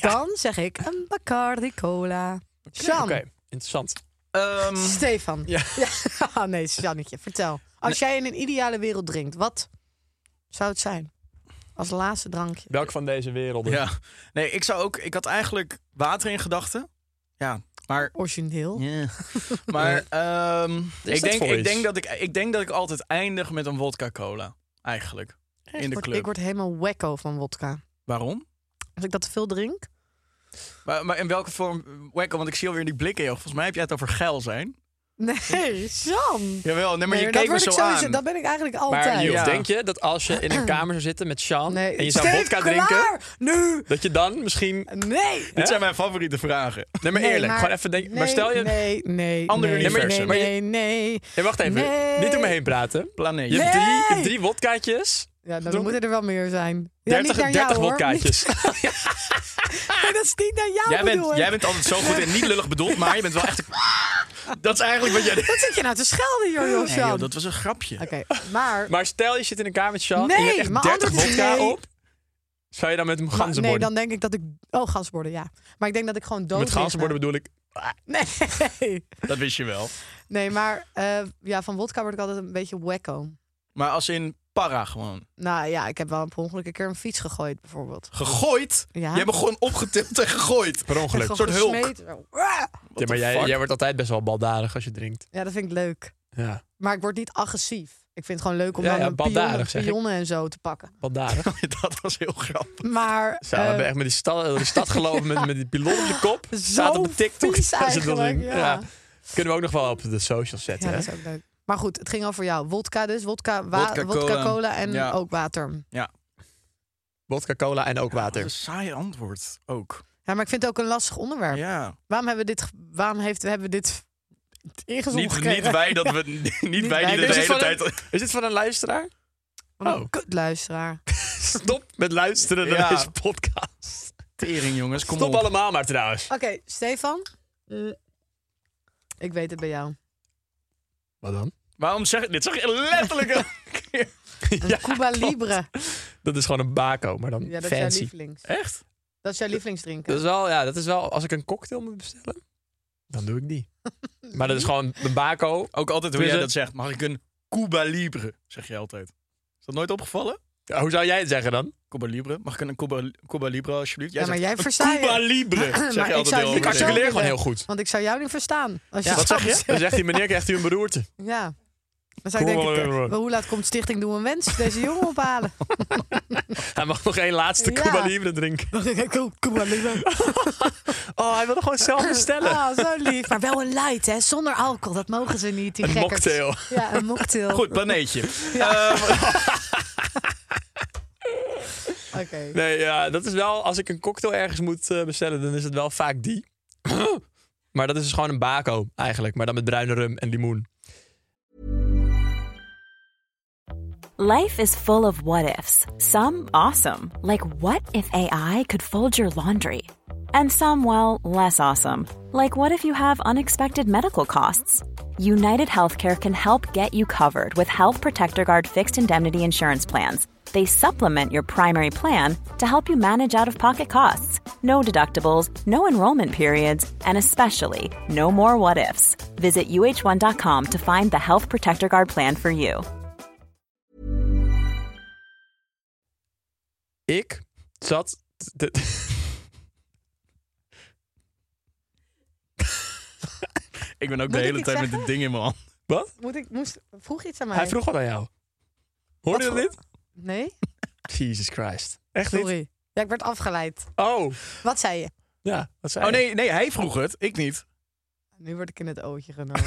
Speaker 1: dan zeg ik een Bacardi Cola. Sjan,
Speaker 3: Oké, interessant.
Speaker 2: Ehm,
Speaker 1: Stefan. Ja. Ah, nee, Jannetje, vertel. Als jij in een ideale wereld drinkt, wat zou het zijn? Als laatste drankje.
Speaker 3: Welk van deze werelden?
Speaker 2: ja. Nee, ik zou ook... Ik had eigenlijk water in gedachten. Ja, maar...
Speaker 1: Origineel.
Speaker 2: Maar ehm,
Speaker 3: dat
Speaker 2: ik, denk,
Speaker 3: voor
Speaker 2: ik,
Speaker 3: iets?
Speaker 2: denk dat ik, ik denk dat ik altijd eindig met een vodka cola. Eigenlijk. In
Speaker 1: ik,
Speaker 2: de
Speaker 1: word,
Speaker 2: club.
Speaker 1: ik word helemaal wekko van wodka.
Speaker 2: Waarom?
Speaker 1: Als ik dat te veel drink,
Speaker 2: Maar, maar in welke vorm? Wekko, want ik zie alweer die blikken. joh. Volgens mij heb jij het over geil zijn.
Speaker 1: Nee, Sam.
Speaker 2: Jawel, nee, maar je
Speaker 1: dat
Speaker 2: keek me
Speaker 1: word
Speaker 2: zo
Speaker 1: ik sowieso-
Speaker 2: aan.
Speaker 1: Dat ben ik eigenlijk
Speaker 3: Maar
Speaker 1: altijd.
Speaker 3: Niels,
Speaker 2: Ja.
Speaker 3: denk je dat als je in een kamer zou zitten met Sean
Speaker 1: Nee,
Speaker 3: en je zou
Speaker 1: Steve,
Speaker 3: vodka
Speaker 1: klaar!
Speaker 3: drinken,
Speaker 1: Nu!
Speaker 3: dat je dan misschien...
Speaker 1: Nee!
Speaker 2: Dit zijn mijn favoriete vragen.
Speaker 3: Nee, maar eerlijk, gewoon even denken. maar stel je... Nee,
Speaker 1: Nee, nee.
Speaker 2: Ander
Speaker 1: nee,
Speaker 2: universum.
Speaker 1: Nee,
Speaker 3: Maar
Speaker 1: nee, nee.
Speaker 3: wacht even.
Speaker 1: Nee.
Speaker 3: Niet om me heen praten.
Speaker 2: Planeet.
Speaker 3: Je hebt drie, je hebt
Speaker 1: Nee.
Speaker 3: drie wodkaatjes.
Speaker 1: Ja, dan
Speaker 3: Dronken.
Speaker 1: moeten er wel meer zijn. Ja, niet
Speaker 3: 30,
Speaker 1: naar
Speaker 3: 30
Speaker 1: jou, hoor.
Speaker 3: wodkaatjes.
Speaker 1: Nee, dat is niet naar jou
Speaker 2: Jij
Speaker 1: bedoel
Speaker 2: bent,
Speaker 1: ik.
Speaker 2: jij bent altijd zo goed en niet lullig bedoeld, maar je bent wel echt... een- Dat is eigenlijk wat jij...
Speaker 1: Wat zit je nou te schelden, joh, joh,
Speaker 2: Nee, joh,
Speaker 1: Sam?
Speaker 2: dat was een grapje.
Speaker 1: Oké, maar...
Speaker 3: Maar stel je zit in een kamer met Sean en je
Speaker 1: Nee,
Speaker 3: hebt echt
Speaker 1: maar
Speaker 3: 30
Speaker 1: antwoord is
Speaker 3: wodka
Speaker 1: nee.
Speaker 3: op. Zou je dan met hem
Speaker 1: maar-
Speaker 3: ganzen
Speaker 1: Nee,
Speaker 3: worden?
Speaker 1: dan denk ik dat ik... Oh, ganzenborden, ja. Maar ik denk dat ik gewoon dood
Speaker 3: Met ganzen worden bedoel ik...
Speaker 1: Nee.
Speaker 2: Dat wist je wel.
Speaker 1: Nee, maar eh, ja, van wodka word ik altijd een beetje wekko.
Speaker 2: Maar als in para gewoon.
Speaker 1: Nou ja, ik heb wel per ongeluk een keer een fiets gegooid, bijvoorbeeld.
Speaker 2: Gegooid?
Speaker 1: Ja.
Speaker 2: Je hebt me gewoon opgetild en gegooid.
Speaker 3: Per ongeluk.
Speaker 2: Een soort hulk.
Speaker 1: Gesmeed, zo. Ah!
Speaker 3: Ja, maar
Speaker 2: the
Speaker 3: jij,
Speaker 2: fuck?
Speaker 3: jij wordt altijd best wel baldadig als je drinkt.
Speaker 1: Ja, dat vind ik leuk.
Speaker 3: Ja,
Speaker 1: Maar ik word niet agressief. Ik vind het gewoon leuk om
Speaker 3: Ja,
Speaker 1: dan
Speaker 3: ja,
Speaker 1: een
Speaker 3: baldadig,
Speaker 1: pionnen,
Speaker 3: zeg ik.
Speaker 1: pionnen en zo te pakken.
Speaker 3: baldadig.
Speaker 2: Dat was heel grappig.
Speaker 1: Maar
Speaker 3: Zo, we
Speaker 1: eh,
Speaker 3: hebben echt met die stad, door die stad gelopen met, met die pilot op je kop. Staat op TikTok.
Speaker 1: vies
Speaker 3: Daar zit dat
Speaker 1: eigenlijk,
Speaker 3: in.
Speaker 1: ja.
Speaker 3: Kunnen we ook nog wel op de socials zetten.
Speaker 1: ja, dat
Speaker 3: hè?
Speaker 1: is ook leuk. Maar goed, het ging over jou. Wodka dus, wodka, wa-
Speaker 2: Wodka,
Speaker 1: wodka,
Speaker 2: cola.
Speaker 1: cola. en
Speaker 2: Ja.
Speaker 1: ook water.
Speaker 3: Wodka, cola en ook water.
Speaker 2: Wat een saai antwoord ook.
Speaker 1: Ja, maar ik vind het ook een lastig onderwerp.
Speaker 2: Ja.
Speaker 1: Waarom hebben we dit, ge- waarom heeft, hebben we dit ingezonden
Speaker 2: Niet,
Speaker 1: gekregen?
Speaker 2: niet wij, dat we, niet wij die
Speaker 1: wij.
Speaker 2: dat de
Speaker 1: Is
Speaker 2: hele
Speaker 3: het
Speaker 2: tijd...
Speaker 3: Is dit van een luisteraar?
Speaker 1: Wat een
Speaker 3: Oh.
Speaker 1: kutluisteraar.
Speaker 3: Stop met luisteren naar
Speaker 2: Ja.
Speaker 3: deze podcast.
Speaker 2: Tering, jongens, kom
Speaker 3: Stop
Speaker 2: op.
Speaker 3: allemaal maar trouwens.
Speaker 1: Oké, Stefan. Ik weet het bij jou.
Speaker 3: Wat dan?
Speaker 2: Waarom zeg Dit zeg je letterlijk een keer.
Speaker 1: Een
Speaker 3: Ja,
Speaker 1: Cuba
Speaker 3: klopt.
Speaker 1: Libre.
Speaker 3: Dat is gewoon een bako, maar dan
Speaker 1: Ja, dat is jouw
Speaker 3: fancy.
Speaker 1: lievelings.
Speaker 2: Echt?
Speaker 1: Dat is jouw lievelingsdrinken.
Speaker 3: Dat is, wel, ja, dat is wel, als ik een cocktail moet bestellen, dan doe ik die. Maar dat is gewoon de bako.
Speaker 2: Ook altijd hoe
Speaker 3: Is
Speaker 2: jij
Speaker 3: Dus het-
Speaker 2: dat zegt. Mag ik een Cuba Libre? Zeg je altijd. Is dat nooit opgevallen?
Speaker 3: Ja, hoe zou jij het zeggen dan?
Speaker 2: Cuba Libre. Mag ik een Cuba, Cuba Libre alsjeblieft?
Speaker 1: Ja, maar
Speaker 2: zegt,
Speaker 1: jij
Speaker 2: een
Speaker 1: versta je.
Speaker 2: Cuba Libre. Zeg
Speaker 1: Maar
Speaker 2: je
Speaker 1: ik
Speaker 2: altijd
Speaker 1: zou het
Speaker 2: heel
Speaker 3: Ik
Speaker 1: niet
Speaker 2: hard.
Speaker 1: zo
Speaker 3: articuleer gewoon
Speaker 1: willen.
Speaker 3: heel goed.
Speaker 1: Want ik zou jou niet verstaan. Als je
Speaker 2: Ja,
Speaker 1: dat
Speaker 2: wat
Speaker 1: zo
Speaker 2: zeg je?
Speaker 1: zegt.
Speaker 3: Dan zegt die meneer, krijgt u een beroerte.
Speaker 1: Ja. Dan zou ik
Speaker 3: Cuba
Speaker 1: denken,
Speaker 3: Libre.
Speaker 1: maar hoe laat komt Stichting Doe een Wens deze jongen ophalen?
Speaker 3: Hij mag nog één laatste
Speaker 1: Ja.
Speaker 3: Cuba Libre drinken.
Speaker 1: Cuba Libre.
Speaker 3: Oh, hij wil gewoon zelf bestellen.
Speaker 1: Ah, zo lief. Maar wel een light, hè? Zonder alcohol. Dat mogen ze niet, die
Speaker 3: Een
Speaker 1: gekkers.
Speaker 3: mocktail. Eh,
Speaker 1: Ja, een mocktail.
Speaker 2: Goed, planeetje.
Speaker 1: Oké.
Speaker 3: Nee, ja, dat is wel... Als ik een cocktail ergens moet eh, bestellen, dan is het wel vaak die. maar dat is dus gewoon een bako eigenlijk. Maar dan met bruine rum en limoen.
Speaker 5: Life is full of what ifs. Some awesome, like what if AI could fold your laundry? And some, well, less awesome, like what if you have unexpected medical costs? United Healthcare can help get you covered with Health Protector Guard fixed indemnity insurance plans. They supplement your primary plan to help you manage out of pocket costs. No deductibles, no enrollment periods, and especially no more what ifs. Visit uh1.com to find the Health Protector Guard plan for you.
Speaker 3: Ik zat... te- te-
Speaker 2: Ik ben ook
Speaker 1: Moet
Speaker 2: de
Speaker 1: ik
Speaker 2: hele
Speaker 1: iets
Speaker 2: tijd met
Speaker 1: zeggen?
Speaker 2: dit ding in mijn hand.
Speaker 3: Wat?
Speaker 1: Moet ik, moest, vroeg je iets aan mij?
Speaker 3: Hij vroeg wat aan jou. Hoorde je
Speaker 1: Wat
Speaker 3: dit?
Speaker 1: Nee?
Speaker 3: Jesus Christ. Echt niet?
Speaker 1: Sorry. Ja, ik werd afgeleid.
Speaker 3: Oh,
Speaker 1: Wat zei je?
Speaker 3: ja. Wat zei
Speaker 2: Oh
Speaker 3: je?
Speaker 2: nee, nee, hij vroeg het. Ik niet.
Speaker 1: Nu word ik in het ootje genomen.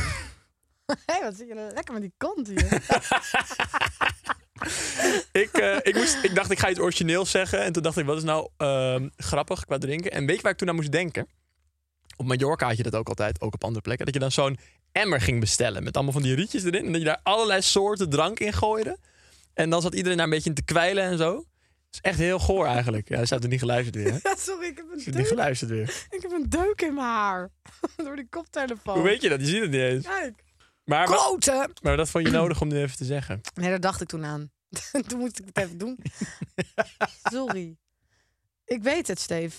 Speaker 1: Hé, wat zit je nou lekker met die kont hier?
Speaker 3: Ik, eh, ik, moest, ik dacht, ik ga iets origineels zeggen. En toen dacht ik, wat is nou ehm, grappig qua drinken? En weet je waar ik toen aan moest denken? Op Mallorca had je dat ook altijd, ook op andere plekken. Dat je dan zo'n emmer ging bestellen met allemaal van die rietjes erin. En dat je daar allerlei soorten drank in gooide. En dan zat iedereen daar een beetje in te kwijlen en zo. Het is echt heel goor eigenlijk. Ja, ze hadden niet geluisterd weer. Hè? Ze
Speaker 1: Ja, sorry, ik heb een
Speaker 3: hadden niet
Speaker 1: deuk.
Speaker 3: geluisterd weer.
Speaker 1: Ik heb een deuk in mijn haar. Door die koptelefoon.
Speaker 3: Hoe weet je dat? Je ziet het niet eens.
Speaker 1: Kijk.
Speaker 3: Maar, maar,
Speaker 1: Kloten!
Speaker 3: maar dat vond je nodig om nu even te zeggen.
Speaker 1: Nee, daar dacht ik toen aan. toen moest ik het even doen. sorry. Ik weet het, Steve.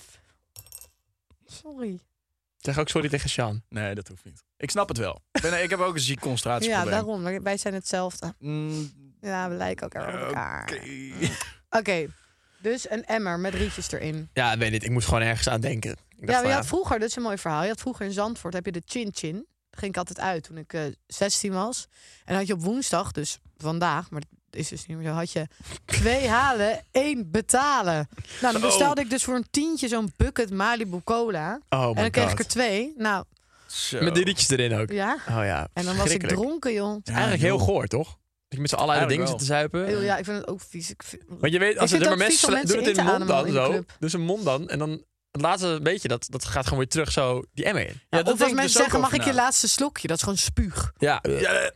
Speaker 1: Sorry.
Speaker 3: Het Zeg ook sorry tegen Sean.
Speaker 2: Nee, dat hoeft niet. Ik snap het wel. Ik, ben, ik heb ook een ziek
Speaker 1: Ja,
Speaker 2: concentratieprobleem.
Speaker 1: daarom. Wij- Wij zijn hetzelfde.
Speaker 2: Mm,
Speaker 1: Ja, we lijken elkaar op
Speaker 2: Oké.
Speaker 1: elkaar. Oké, dus een emmer met rietjes erin.
Speaker 3: Ja, ik weet niet. Ik moest gewoon ergens aan denken. Ik dacht
Speaker 1: ja,
Speaker 3: van,
Speaker 1: maar je had vroeger, dat is een mooi verhaal. Je had vroeger in Zandvoort heb je de chin chin. Daar ging ik altijd uit toen ik eh, 16 was. En dan had je op woensdag, dus vandaag, maar dat is dus niet meer zo, had je twee halen, één betalen. Nou, dan bestelde ik dus voor een tientje zo'n bucket Malibu cola.
Speaker 3: Oh
Speaker 1: en
Speaker 3: my
Speaker 1: dan kreeg ik
Speaker 3: God.
Speaker 1: er twee. Nou,
Speaker 2: zo.
Speaker 3: Met die liedjes erin ook.
Speaker 1: ja.
Speaker 3: Oh ja.
Speaker 1: En dan was ik
Speaker 3: verschrikkelijk.
Speaker 1: dronken, joh.
Speaker 2: Ja,
Speaker 3: Eigenlijk heel
Speaker 2: joh.
Speaker 3: goor, toch? Dat je met z'n allen uit de dingen zit te
Speaker 2: Eigenlijk
Speaker 3: zuipen.
Speaker 1: Eeuw, Ja, ik vind het ook vies. Ik vind-
Speaker 3: Want je weet, als
Speaker 1: vind
Speaker 3: er
Speaker 1: het
Speaker 3: maar
Speaker 1: ook vies
Speaker 3: mensen
Speaker 1: om
Speaker 3: sla- doen
Speaker 1: mensen
Speaker 3: het in
Speaker 1: in
Speaker 3: de
Speaker 1: te
Speaker 3: mond
Speaker 1: ademen
Speaker 3: dan
Speaker 1: in de
Speaker 3: zo.
Speaker 1: club.
Speaker 3: Dus een mond dan. En dan het laatste beetje, dat, dat gaat gewoon weer terug zo die emmer in.
Speaker 2: Ja, dat
Speaker 1: of
Speaker 2: denk
Speaker 1: als
Speaker 2: ik
Speaker 1: mensen
Speaker 2: dus ook
Speaker 1: zeggen, mag
Speaker 2: over
Speaker 1: ik je
Speaker 2: na.
Speaker 1: laatste slokje? Dat is gewoon spuug.
Speaker 3: Ja. ja.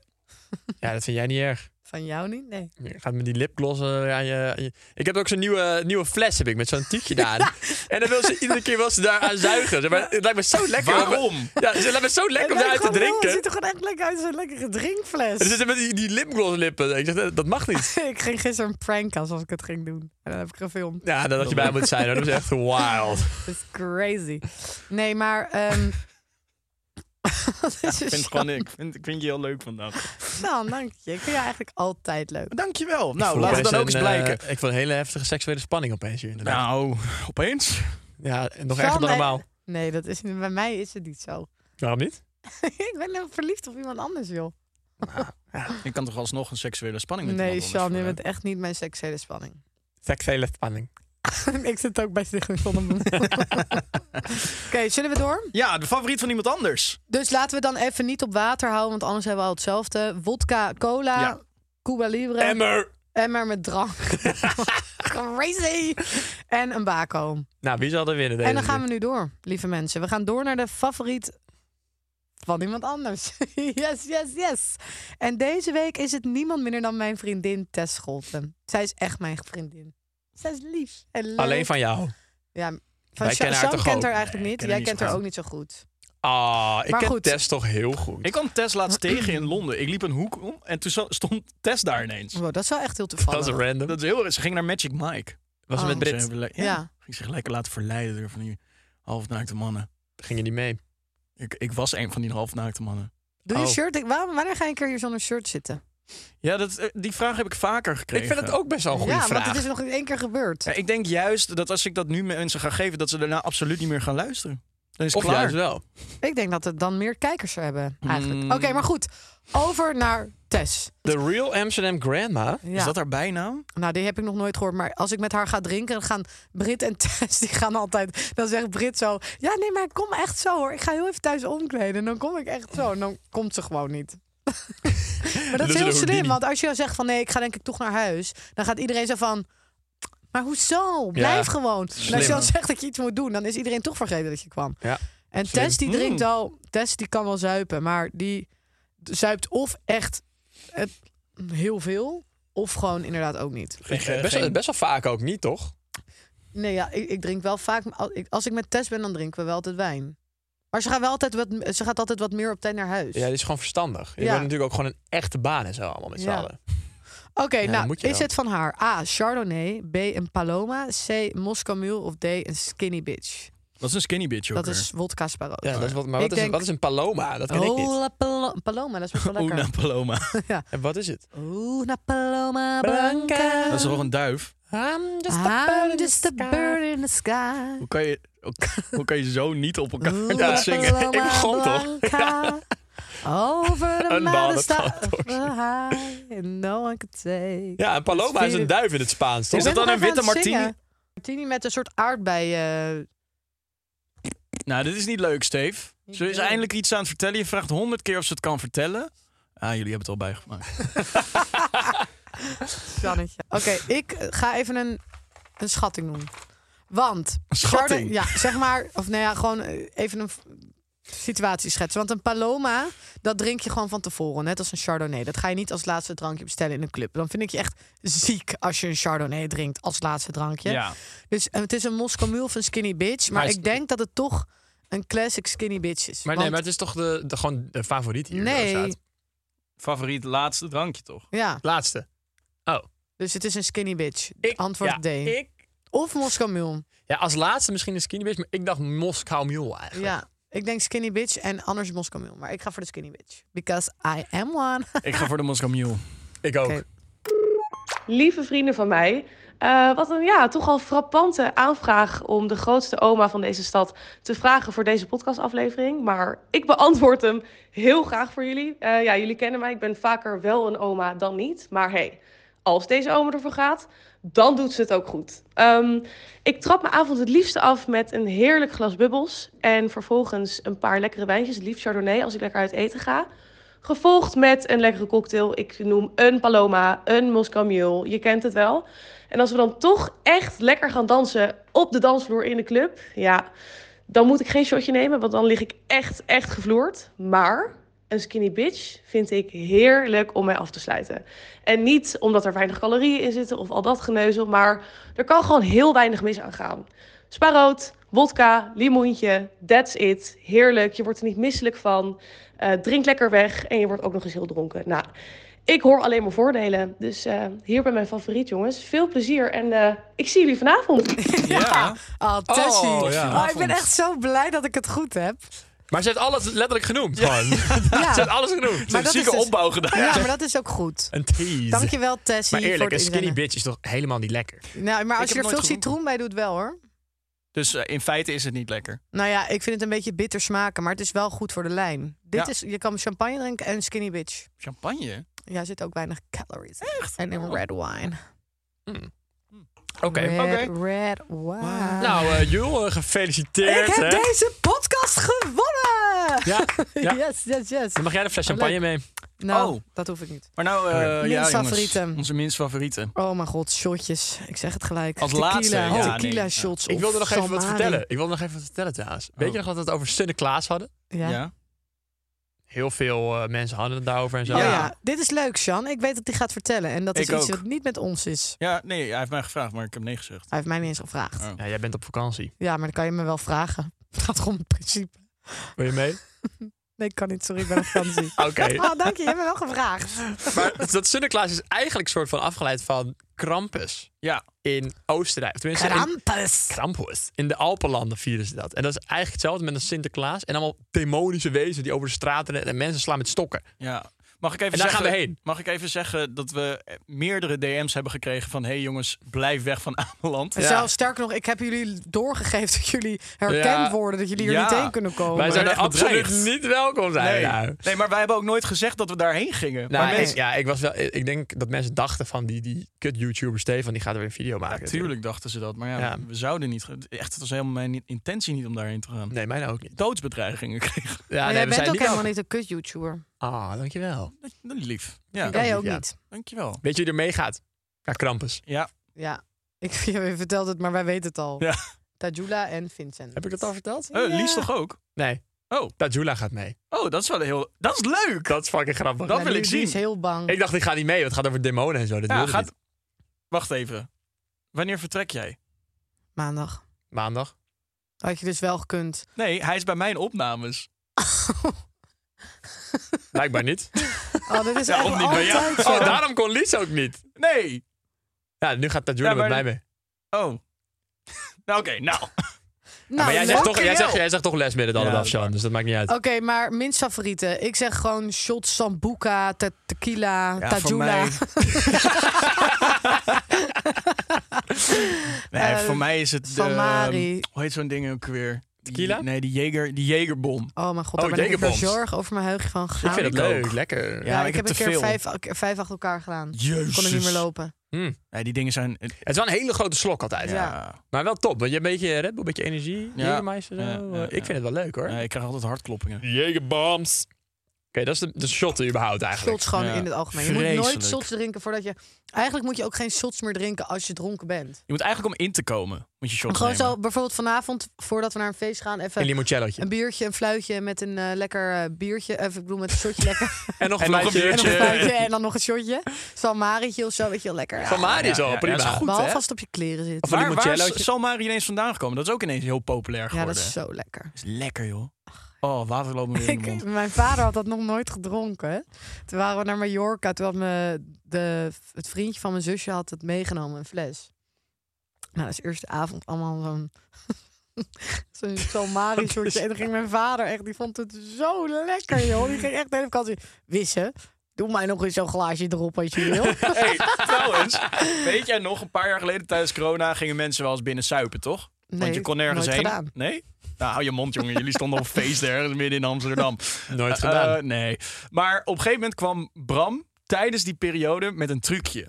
Speaker 3: Ja, dat vind jij niet erg.
Speaker 1: Van jou niet? Nee.
Speaker 3: Je gaat met die lipgloss eh, aan je, aan je- Ik heb ook zo'n nieuwe, nieuwe fles heb ik, met zo'n tiekje daar. En dan wil ze iedere keer wel ze daar aan zuigen. Zeg maar, het lijkt me zo lekker. om-
Speaker 2: Waarom?
Speaker 3: ja, het lijkt me zo lekker
Speaker 1: Het
Speaker 3: om daaruit te
Speaker 1: lijkt gewoon wel,
Speaker 3: drinken.
Speaker 1: Het ziet er gewoon echt lekker uit als een lekkere drinkfles.
Speaker 3: En er zitten met die, die lipgloss lippen. Ik zeg, dat, dat mag niet.
Speaker 1: ik ging gisteren een prank als ik het ging doen. En dan heb ik gefilmd.
Speaker 3: Ja, dat had je bij moet zijn. hoor. Dat was echt wild.
Speaker 1: Dat is crazy. Nee, maar... ehm Wat is
Speaker 2: Ik
Speaker 1: er
Speaker 2: vind
Speaker 1: zo-
Speaker 2: het gewoon ik. Vind, ik vind je heel leuk vandaag.
Speaker 1: Nou, dank je. Ik vind jou eigenlijk altijd leuk.
Speaker 2: Dankjewel.
Speaker 3: Ik
Speaker 2: Nou,
Speaker 3: voel
Speaker 2: laat het
Speaker 3: opeens
Speaker 2: dan ook eens
Speaker 3: een, eh,
Speaker 2: blijken.
Speaker 3: ik vond een hele heftige seksuele spanning opeens hier. Inderdaad.
Speaker 2: nou, opeens.
Speaker 3: Ja, en nog
Speaker 1: Van
Speaker 3: erger dan
Speaker 1: mij-
Speaker 3: normaal.
Speaker 1: Nee, dat is, bij mij is het niet zo.
Speaker 3: Waarom niet?
Speaker 1: ik ben helemaal verliefd op iemand anders, joh.
Speaker 2: Ik kan toch alsnog een seksuele spanning met
Speaker 1: Nee,
Speaker 2: iemand
Speaker 1: Sean,
Speaker 2: anders
Speaker 1: je
Speaker 2: voelen?
Speaker 1: bent echt niet mijn seksuele spanning.
Speaker 3: Seksuele spanning.
Speaker 1: ik zit ook bij Stichting Zonnebloem. Oké, zullen we door?
Speaker 2: Ja, de favoriet van iemand anders.
Speaker 1: Dus laten we dan even niet op water houden, want anders hebben we al hetzelfde. Wodka, cola,
Speaker 2: Ja.
Speaker 1: Cuba Libre,
Speaker 3: Emmer!
Speaker 1: emmer met drank. Crazy! En een bako.
Speaker 3: Nou, wie zal er winnen deze
Speaker 1: En dan gaan we nu door, lieve mensen. We gaan door naar de favoriet van iemand anders. yes, yes, yes. En deze week is het niemand minder dan mijn vriendin Tess Scholten. Zij is echt mijn vriendin. Zij is lief en leuk.
Speaker 3: keer? Alleen van jou.
Speaker 1: Ja, van
Speaker 3: Wij
Speaker 1: Sha-
Speaker 3: kennen haar
Speaker 1: Sam
Speaker 3: toch
Speaker 1: kent
Speaker 3: ook?
Speaker 1: haar eigenlijk niet.
Speaker 2: ken
Speaker 1: Jij
Speaker 2: haar niet
Speaker 1: kent
Speaker 2: zo
Speaker 1: haar
Speaker 2: goed.
Speaker 1: ook niet zo goed.
Speaker 3: Ah, ik
Speaker 1: Maar
Speaker 3: ken
Speaker 1: goed.
Speaker 3: Tess toch heel goed.
Speaker 2: Ik kwam Tess laatst tegen in Londen. Ik liep een hoek om en toen zo- stond Tess daar ineens.
Speaker 1: Wow, dat is wel echt heel
Speaker 3: Dat
Speaker 1: toevallig.
Speaker 3: is random.
Speaker 2: Dat is heel erg. Ze ging naar Magic Mike.
Speaker 3: was
Speaker 1: Oh.
Speaker 3: het met
Speaker 2: Ze
Speaker 3: Brit.
Speaker 2: hebben le- Ja.
Speaker 1: Ja.
Speaker 2: Ging zich lekker laten verleiden door van die halfnaakte mannen.
Speaker 3: Ging je niet mee?
Speaker 2: Ik, ik was een van die halfnaakte mannen.
Speaker 1: Doe je
Speaker 3: Oh.
Speaker 1: shirt. Ik, waarom, wanneer ga je een keer hier zonder shirt zitten?
Speaker 2: Ja, dat, eh, die vraag heb ik vaker gekregen.
Speaker 3: Ik vind het ook best wel een goede
Speaker 1: ja, want
Speaker 3: vraag.
Speaker 1: het is nog niet één keer gebeurd.
Speaker 2: Ja, ik denk juist dat als ik dat nu mensen ga geven, dat ze daarna absoluut niet meer gaan luisteren. Dan is het
Speaker 3: Of
Speaker 2: klaar.
Speaker 3: juist wel.
Speaker 1: Ik denk dat het dan meer kijkers zou hebben, eigenlijk.
Speaker 2: Mm.
Speaker 1: Oké, maar goed. Over naar Tess.
Speaker 3: De real Amsterdam grandma.
Speaker 1: Ja.
Speaker 2: Is dat haar bijnaam?
Speaker 1: Nou, die heb ik nog nooit gehoord. Maar als ik met haar ga drinken, dan gaan Brit en Tess, die gaan altijd... Dan zegt Brit zo, ja, nee, maar kom echt zo, hoor. Ik ga heel even thuis omkleden. En dan kom ik echt zo. En dan komt ze gewoon niet. maar dat is
Speaker 3: is
Speaker 1: heel
Speaker 3: een
Speaker 1: slim.
Speaker 3: Houdini.
Speaker 1: Want als je dan zegt van, nee, ik ga denk ik toch naar huis. Dan gaat iedereen zo van... Maar hoezo? Blijf gewoon. En als je dan
Speaker 2: Slim.
Speaker 1: zegt dat je iets moet doen, dan is iedereen toch vergeten dat je kwam.
Speaker 3: Ja.
Speaker 1: En
Speaker 3: Slim. Hmm.
Speaker 1: Tess die drinkt al, Tess die kan wel zuipen, maar die zuipt of echt eh, heel veel, of gewoon inderdaad ook niet.
Speaker 3: Best,
Speaker 2: eh,
Speaker 3: wel-
Speaker 2: geen-
Speaker 3: best wel vaak ook niet, toch?
Speaker 1: Nee, ja, ik, ik drink wel vaak. al- ik- Als ik met Tess ben, dan drinken we wel altijd wijn. Maar ze gaat wel altijd wat, ze gaat altijd wat meer op tijd naar huis.
Speaker 3: Ja, die is gewoon verstandig. Je
Speaker 1: Ja.
Speaker 3: wordt natuurlijk ook gewoon een echte baan en zo allemaal met z'n
Speaker 1: Ja.
Speaker 3: allen.
Speaker 1: Oké,
Speaker 3: dat
Speaker 1: nou,
Speaker 3: moet je
Speaker 1: is
Speaker 3: wel.
Speaker 1: het van haar? A. Chardonnay. B. Een Paloma. C. Moscow Mule. Of D. Een Skinny Bitch.
Speaker 2: Dat is een skinny bitch ook
Speaker 1: Dat is wodka Sparrow.
Speaker 3: Ja, dat is wat, maar
Speaker 1: Ik
Speaker 3: wat is,
Speaker 1: denk- Oh.
Speaker 3: wat is een Oh, paloma? Dat ken ik niet.
Speaker 1: Hola Palo- Paloma, dat is best wel lekker.
Speaker 2: Una Paloma.
Speaker 3: En wat is het?
Speaker 1: Una Paloma Blanca.
Speaker 2: Dat is toch een duif?
Speaker 3: I'm
Speaker 1: I'm just a bird in the sky.
Speaker 2: Hoe kan je, hoe, hoe kan je zo niet op elkaar
Speaker 1: Oeh,
Speaker 2: laten
Speaker 1: la
Speaker 2: zingen?
Speaker 1: paloma
Speaker 3: Ik begon toch?
Speaker 1: blanca, Over de
Speaker 3: Een
Speaker 1: mountain
Speaker 3: bal, dat kan
Speaker 1: stop high and no one could take.
Speaker 3: Ja, een paloma is een duif in het Spaans,
Speaker 1: Ik
Speaker 3: toch?
Speaker 1: ben
Speaker 2: dat
Speaker 1: nog
Speaker 2: dan een
Speaker 1: even
Speaker 2: witte
Speaker 1: aan het
Speaker 2: martini?
Speaker 1: zingen. Martini met een soort aardbei. eh,
Speaker 2: Nou, dit is niet leuk, Steve. Ze is
Speaker 1: leuk.
Speaker 2: eindelijk iets aan het vertellen. Je vraagt honderd keer of ze het kan vertellen. Ah, jullie hebben het al bijgemaakt.
Speaker 1: Jannetje. Oké, ik ga even een, een schatting doen. Want.
Speaker 2: Schatting?
Speaker 1: Chardon- ja, zeg maar. Of nou ja, gewoon eh, even een v- situatie schetsen. Want een Paloma, dat drink je gewoon van tevoren. Net als een Chardonnay. Dat ga je niet als laatste drankje bestellen in een club. Dan vind ik je echt ziek als je een Chardonnay drinkt als laatste drankje. Dus eh, het is een Moscow Mule of een Skinny Bitch. Maar,
Speaker 3: Maar is-
Speaker 1: ik denk dat het toch een classic Skinny Bitch is.
Speaker 3: Maar nee,
Speaker 1: Want-
Speaker 3: maar het is toch de, de, gewoon de favoriet hier?
Speaker 1: Nee.
Speaker 3: Rosaat?
Speaker 2: Favoriet laatste drankje, toch?
Speaker 1: Ja,
Speaker 3: Laatste. Oh.
Speaker 1: dus het is een Skinny Bitch.
Speaker 3: Ik,
Speaker 1: Antwoord
Speaker 3: ja,
Speaker 1: D.
Speaker 3: Ik,
Speaker 1: Of Moscow Mule.
Speaker 3: ja, als laatste misschien een skinny bitch, maar ik dacht Moskou Mule eigenlijk.
Speaker 1: Ja. Ik denk skinny bitch en anders Moscow Mule. Maar ik ga voor de skinny bitch. Because I am one.
Speaker 2: Ik ga voor de Moscow Mule.
Speaker 3: Ik ook.
Speaker 1: Oké.
Speaker 6: lieve vrienden van mij. eh, wat een ja, toch al frappante aanvraag om de grootste oma van deze stad te vragen voor deze podcastaflevering. Maar ik beantwoord hem heel graag voor jullie. Eh, ja, jullie kennen mij, ik ben vaker wel een oma dan niet. Maar hey, als deze oma ervoor gaat, dan doet ze het ook goed. Ehm, ik trap mijn avond het liefste af met een heerlijk glas bubbels. En vervolgens een paar lekkere wijntjes, het liefst chardonnay als ik lekker uit eten ga. Gevolgd met een lekkere cocktail. Ik noem een Paloma, een Moscow Mule. Je kent het wel. En als we dan toch echt lekker gaan dansen op de dansvloer in de club, ja, dan moet ik geen shotje nemen, want dan lig ik echt, echt gevloerd. Maar een skinny bitch vind ik heerlijk om mij af te sluiten. En niet omdat er weinig calorieën in zitten of al dat geneuzel, maar er kan gewoon heel weinig mis aan gaan. Sparoot, wodka, limoentje, that's it. Heerlijk, je wordt er niet misselijk van. Eh, drink lekker weg en je wordt ook nog eens heel dronken. Nou, ik hoor alleen maar voordelen. Dus eh, hier bij mijn favoriet, jongens. Veel plezier en eh, ik zie jullie vanavond.
Speaker 2: Ja.
Speaker 1: Ah, Tessie.
Speaker 2: Oh, ja.
Speaker 1: Ah, ik ben echt zo blij dat ik het goed heb.
Speaker 3: Maar ze heeft alles letterlijk genoemd. Gewoon.
Speaker 1: Ja.
Speaker 3: Ze heeft alles genoemd.
Speaker 1: Maar dat
Speaker 2: Zieke
Speaker 1: is dus-
Speaker 2: opbouw gedaan.
Speaker 1: Ja, maar dat is ook goed.
Speaker 3: Een tease.
Speaker 1: Dankjewel, Tessie.
Speaker 3: Maar eerlijk,
Speaker 1: voor
Speaker 3: een
Speaker 1: het
Speaker 3: skinny
Speaker 1: inzenden.
Speaker 3: bitch is toch helemaal niet lekker?
Speaker 1: Nou, maar als
Speaker 2: heb
Speaker 1: je er
Speaker 2: nooit
Speaker 1: veel
Speaker 2: gedronken.
Speaker 1: citroen bij doet, wel hoor.
Speaker 2: Dus eh, in feite is het niet lekker.
Speaker 1: Nou ja, ik vind het een beetje bitter smaken, maar het is wel goed voor de lijn. Dit
Speaker 2: Ja.
Speaker 1: is, je kan champagne drinken en skinny bitch.
Speaker 2: Champagne?
Speaker 1: Ja, er zitten ook weinig calories. in. En in red wine.
Speaker 3: Oh. Oké.
Speaker 1: Red, red wine.
Speaker 3: Nou, eh Jul, eh, gefeliciteerd.
Speaker 1: ik heb
Speaker 3: hè?
Speaker 1: deze podcast gewonnen!
Speaker 3: Ja, ja.
Speaker 1: Yes, yes, yes.
Speaker 3: Dan mag jij de fles champagne
Speaker 1: Leuk.
Speaker 3: mee.
Speaker 1: Nou,
Speaker 2: Oh.
Speaker 1: dat hoef ik niet.
Speaker 2: Maar nou, eh ja,
Speaker 1: Minst
Speaker 2: jongens,
Speaker 1: favorieten.
Speaker 2: Onze minst favorieten.
Speaker 1: Oh mijn god, shotjes. Ik zeg het gelijk.
Speaker 2: Als
Speaker 1: tequila,
Speaker 2: laatste, ja, nee.
Speaker 1: tequila
Speaker 2: Ja.
Speaker 1: shots.
Speaker 3: Ik wilde
Speaker 1: of
Speaker 3: nog even wat
Speaker 1: Salmari.
Speaker 3: vertellen. Ik wilde nog even wat vertellen trouwens. Weet je nog dat we het over Sunne Klaas hadden?
Speaker 1: Ja.
Speaker 3: Heel veel eh, mensen hadden het daarover en zo.
Speaker 1: Oh
Speaker 2: Ja.
Speaker 1: ja, dit is leuk, Sjan. Ik weet dat hij gaat vertellen. En dat
Speaker 2: Ik
Speaker 1: is iets
Speaker 2: ook.
Speaker 1: wat niet met ons is.
Speaker 2: Ja, nee, hij heeft mij gevraagd, maar ik heb nee gezegd.
Speaker 1: Hij heeft mij niet eens gevraagd.
Speaker 2: Oh.
Speaker 3: Ja, jij bent op vakantie.
Speaker 1: Ja, maar dan kan je me wel vragen. Het gaat gewoon om het principe.
Speaker 3: Wil je mee?
Speaker 1: Nee, ik kan niet. Sorry, ik ben op vakantie.
Speaker 3: Oké.
Speaker 1: Ah, dank je. Je hebt me wel gevraagd.
Speaker 3: Maar dat Sinterklaas is eigenlijk soort van afgeleid van Krampus
Speaker 2: Ja.
Speaker 3: in Oostenrijk. Of Tenminste, in-
Speaker 1: Krampus.
Speaker 3: Krampus. In de Alpenlanden vieren ze dat. En dat is eigenlijk hetzelfde met een Sinterklaas. En allemaal demonische wezen die over de straten rennen en mensen slaan met stokken.
Speaker 2: Ja. Mag ik even
Speaker 3: En daar
Speaker 2: zeggen,
Speaker 3: gaan we heen.
Speaker 2: Mag ik even zeggen dat we eh, meerdere DM's hebben gekregen van... hey jongens, blijf weg van Ameland.
Speaker 1: Zelfs sterker nog, ik heb jullie doorgegeven dat jullie herkend
Speaker 3: Ja.
Speaker 1: worden. Dat jullie er
Speaker 2: Ja.
Speaker 1: niet heen kunnen komen.
Speaker 3: Wij zijn er
Speaker 2: echt
Speaker 3: absoluut
Speaker 2: bedreigd.
Speaker 3: niet welkom zijn.
Speaker 2: Nee.
Speaker 3: nou.
Speaker 2: nee, maar wij hebben ook nooit gezegd dat we daarheen gingen.
Speaker 3: Nou,
Speaker 2: maar
Speaker 3: ik-
Speaker 2: mensen,
Speaker 3: ja, ik, was wel, ik denk dat mensen dachten van die, die kut-YouTuber Stefan, die gaat er weer een video maken.
Speaker 2: natuurlijk dachten ze dat. Maar ja,
Speaker 3: Ja.
Speaker 2: we zouden niet... ge- Echt, het was helemaal mijn intentie niet om daarheen te gaan.
Speaker 3: Nee, mij nou ook niet.
Speaker 2: Doodsbedreigingen kregen.
Speaker 1: maar
Speaker 3: Ja, nee,
Speaker 1: Oh, jij
Speaker 3: we
Speaker 1: bent
Speaker 3: zijn
Speaker 1: ook
Speaker 3: niet
Speaker 1: helemaal niet een kut-YouTuber.
Speaker 3: Ah, dankjewel.
Speaker 2: Dat- dat is Lief. Ja,
Speaker 1: Jij ook
Speaker 3: ja.
Speaker 1: niet.
Speaker 2: dankjewel.
Speaker 3: Weet je wie er meegaat? Naar Krampus.
Speaker 2: Ja,
Speaker 1: Ja. Ik, je vertelt het, maar wij weten het al.
Speaker 2: Ja.
Speaker 1: Tajula en Vincent.
Speaker 3: Heb ik dat al verteld?
Speaker 2: Eh, Lies toch ook?
Speaker 3: Nee.
Speaker 2: Oh.
Speaker 3: Tajula gaat mee.
Speaker 2: Oh, dat is wel heel... Dat is leuk!
Speaker 3: Dat is fucking grappig.
Speaker 2: Dat
Speaker 1: Ja,
Speaker 2: wil
Speaker 1: die-
Speaker 2: ik
Speaker 1: die
Speaker 2: zien.
Speaker 1: is heel bang.
Speaker 3: Ik dacht, ik ga niet mee. want Het gaat over demonen en zo. Dat
Speaker 2: Ja,
Speaker 3: wilde
Speaker 2: gaat...
Speaker 3: niet.
Speaker 2: Wacht even. Wanneer vertrek jij?
Speaker 1: Maandag.
Speaker 3: Maandag.
Speaker 1: Had je dus wel gekund.
Speaker 2: Nee, hij is bij mijn opnames.
Speaker 3: Blijkbaar niet.
Speaker 1: Oh, dat is
Speaker 2: Ja,
Speaker 1: echt
Speaker 2: of niet bij jou.
Speaker 1: altijd zo.
Speaker 3: Oh, daarom kon Lies ook niet.
Speaker 2: Nee!
Speaker 3: Ja, nu gaat Tajula
Speaker 2: Ja, maar-
Speaker 3: met mij mee.
Speaker 2: Oh. nou, oké. nou.
Speaker 1: Nou,
Speaker 3: maar jij zegt,
Speaker 1: leuk.
Speaker 3: toch, jij, zegt, jij zegt toch les midden dan
Speaker 2: Ja,
Speaker 3: het
Speaker 2: dat
Speaker 3: af,
Speaker 2: is
Speaker 3: Sjan.
Speaker 2: waar.
Speaker 3: Dus dat maakt niet uit.
Speaker 1: Oké, maar minst favorieten. Ik zeg gewoon shots, sambuca, te- tequila,
Speaker 2: Ja, voor
Speaker 1: tajula.
Speaker 2: mij- Nee, voor mij is het...
Speaker 1: Eh, Van
Speaker 2: ehm,
Speaker 1: Mari.
Speaker 2: hoe heet zo'n ding ook weer? Die-
Speaker 3: Tequila?
Speaker 2: Nee, die, Jager, die Jagerbom.
Speaker 1: Oh mijn god,
Speaker 3: Oh,
Speaker 1: daar ben ik weer
Speaker 3: Jagerbombs.
Speaker 1: zorgen over mijn heugje van
Speaker 3: ik
Speaker 1: gegaan.
Speaker 3: vind het
Speaker 2: ik
Speaker 3: leuk.
Speaker 2: ook.
Speaker 3: Lekker.
Speaker 1: Ja,
Speaker 2: Ja,
Speaker 1: ik, heb een
Speaker 2: ik heb te
Speaker 1: keer
Speaker 2: veel.
Speaker 1: Vijf, keer vijf achter elkaar gedaan.
Speaker 2: Jezus.
Speaker 1: Kon ik niet meer lopen.
Speaker 3: Hm.
Speaker 2: Nee, die dingen zijn... eh,
Speaker 3: Het is wel een hele grote slok altijd.
Speaker 2: Ja.
Speaker 3: Maar wel top. Want je hebt een beetje Red Bull, een beetje energie.
Speaker 2: Ja.
Speaker 3: Jägermeister, zo.
Speaker 2: Ja, ja,
Speaker 3: ik
Speaker 2: ja.
Speaker 3: vind het wel leuk hoor.
Speaker 2: Nee, ik krijg altijd hartkloppingen.
Speaker 3: Jägerbombs. Oké, dat is de, de shot überhaupt eigenlijk.
Speaker 1: Shots gewoon
Speaker 2: Ja.
Speaker 1: in het algemeen. Je moet
Speaker 2: Vreselijk.
Speaker 1: nooit shots drinken voordat je... Eigenlijk moet je ook geen shots meer drinken als je dronken bent.
Speaker 2: Je moet eigenlijk om in te komen, moet je shots
Speaker 1: Gewoon
Speaker 2: nemen.
Speaker 1: zo, bijvoorbeeld vanavond, voordat we naar een feest gaan...
Speaker 3: Een
Speaker 1: even
Speaker 3: limoncellotje.
Speaker 1: een biertje, een fluitje met een eh, lekker eh, biertje. Even, ik bedoel, met een shotje lekker.
Speaker 3: En nog een
Speaker 2: En nog een
Speaker 3: fluitje.
Speaker 1: en, nog een
Speaker 2: biertje.
Speaker 1: fluitje en dan nog een shotje. Salmarietje of zo, weet je wel, lekker.
Speaker 3: Van Mari is
Speaker 2: Ja,
Speaker 3: al
Speaker 2: ja,
Speaker 3: prima.
Speaker 2: ja, is goed,
Speaker 1: Behalve
Speaker 2: hè?
Speaker 1: als het op je kleren zit.
Speaker 3: een
Speaker 2: Waar, waar
Speaker 3: limoncellootje.
Speaker 2: is Salmari ineens vandaan gekomen? Dat is ook ineens heel populair
Speaker 1: Ja,
Speaker 2: geworden.
Speaker 1: dat is zo lekker.
Speaker 2: is lekker, joh. Oh, water loopt me weer in de
Speaker 1: Ik,
Speaker 2: mond.
Speaker 1: mijn vader had dat nog nooit gedronken. Toen waren we naar Mallorca. Toen had me de, het vriendje van mijn zusje had het meegenomen, een fles. Nou, dat is eerst de avond allemaal zo'n Zo'n salmari soortje. En dan ging mijn vader echt, die vond het zo lekker, joh. Die ging echt de hele vakantie wissen. Doe mij nog eens zo'n glaasje erop als je wil.
Speaker 2: Hey, trouwens, weet jij nog, een paar jaar geleden tijdens corona gingen mensen wel eens binnen suipen, toch?
Speaker 1: Nee,
Speaker 2: Want je kon nergens
Speaker 1: nooit
Speaker 2: heen.
Speaker 1: gedaan.
Speaker 2: Nee? Nou, hou je mond, jongen. Jullie stonden op een feest ergens midden in Amsterdam.
Speaker 3: Nooit
Speaker 2: Eh,
Speaker 3: gedaan.
Speaker 2: eh, nee. Maar op een gegeven moment kwam Bram tijdens die periode met een trucje.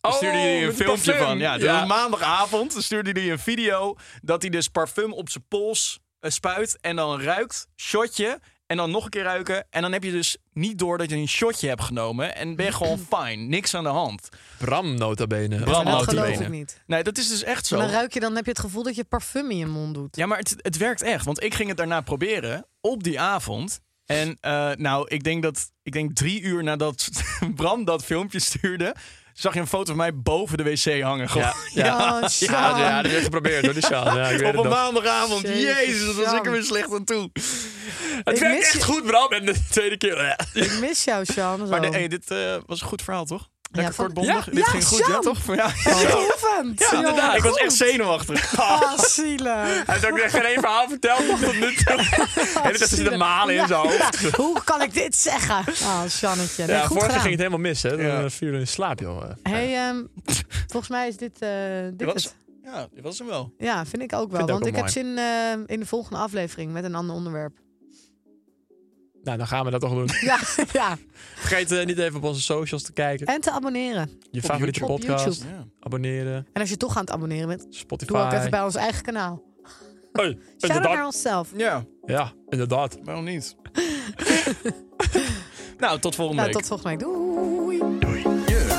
Speaker 2: Daar
Speaker 3: Oh,
Speaker 2: stuurde hij een
Speaker 3: met die
Speaker 2: filmpje
Speaker 3: parfum.
Speaker 2: van. Ja, dus
Speaker 3: Ja.
Speaker 2: maandagavond stuurde hij een video dat hij dus parfum op zijn pols eh, spuit en dan ruikt, shotje en dan nog een keer ruiken. En dan heb je dus niet door dat je een shotje hebt genomen en ben je gewoon fijn, niks aan de hand.
Speaker 3: Bram nota bene.
Speaker 2: Bram
Speaker 1: dat
Speaker 2: nota
Speaker 1: geloof ik
Speaker 2: bene.
Speaker 1: niet.
Speaker 2: Nee, dat is dus echt zo.
Speaker 1: Maar dan ruik je, dan heb je het gevoel dat je parfum in je mond doet.
Speaker 2: Ja, maar het, het werkt echt. Want ik ging het daarna proberen op die avond. En eh, nou, ik denk dat ik denk drie uur nadat Bram dat filmpje stuurde, zag je een foto van mij boven de wc hangen.
Speaker 3: Ja,
Speaker 2: Gewoon.
Speaker 3: ja.
Speaker 1: Ja,
Speaker 3: ja,
Speaker 1: Sjan.
Speaker 3: ja, dat werd geprobeerd door die Sjan. Ja, ik weet
Speaker 2: Op
Speaker 3: het
Speaker 2: een
Speaker 3: nog.
Speaker 2: maandagavond.
Speaker 1: Jezus,
Speaker 2: Jezus, dat was
Speaker 1: Jan.
Speaker 2: ik er weer slecht aan toe.
Speaker 3: Het
Speaker 1: Ik
Speaker 3: werkt
Speaker 1: mis
Speaker 3: echt
Speaker 1: je-
Speaker 3: goed, Bram. En de tweede keer... eh.
Speaker 1: Ik mis jou, Sean. zo.
Speaker 2: Maar de- hey, dit eh, was een goed verhaal, toch? Lekker
Speaker 1: van-
Speaker 2: kortbondig.
Speaker 1: Ja,
Speaker 2: dit
Speaker 1: ja,
Speaker 2: ging goed, ja,
Speaker 1: Sjan.
Speaker 2: toch? Ja,
Speaker 1: Geoefend.
Speaker 2: ja, inderdaad. Ik was echt
Speaker 1: goed.
Speaker 2: zenuwachtig.
Speaker 1: Ah, zielig.
Speaker 3: Hij heeft ook geen één verhaal
Speaker 2: er
Speaker 3: verteld nog tot nu toe. Hele tijd zitten malen in zijn hoofd.
Speaker 2: er
Speaker 1: Ja, hoe kan ik dit zeggen? Ah, Sjannetje. Nee,
Speaker 3: Ja,
Speaker 1: goed
Speaker 3: vorige
Speaker 1: gedaan.
Speaker 3: ging het helemaal mis, hè? Dan
Speaker 2: Ja.
Speaker 3: eh, viel hij in slaap, joh.
Speaker 1: Hey, ehm, volgens mij is dit, eh dit
Speaker 2: Dat was-
Speaker 1: het.
Speaker 2: Ja, er dit was hem wel.
Speaker 1: Ja, vind ik ook wel.
Speaker 3: Vind ik ook
Speaker 1: want ik
Speaker 3: wel
Speaker 1: heb zin eh, in de volgende aflevering met een ander onderwerp.
Speaker 3: Nou, dan gaan we dat toch doen.
Speaker 1: Ja, ja.
Speaker 3: Vergeet eh, niet even op onze socials te kijken.
Speaker 1: En te abonneren.
Speaker 3: Je favoriete
Speaker 1: YouTube. Op
Speaker 3: podcast.
Speaker 1: YouTube.
Speaker 2: Ja.
Speaker 3: Abonneren.
Speaker 1: En als je toch aan het abonneren bent,
Speaker 3: Spotify.
Speaker 1: doe ook even bij ons eigen kanaal.
Speaker 3: Hey,
Speaker 1: Shout out
Speaker 3: inderdaad.
Speaker 1: naar onszelf.
Speaker 2: ja, er
Speaker 3: Ja, inderdaad.
Speaker 2: waarom niet? nou, tot volgende
Speaker 1: Nou,
Speaker 2: week.
Speaker 1: tot volgende week. Doei.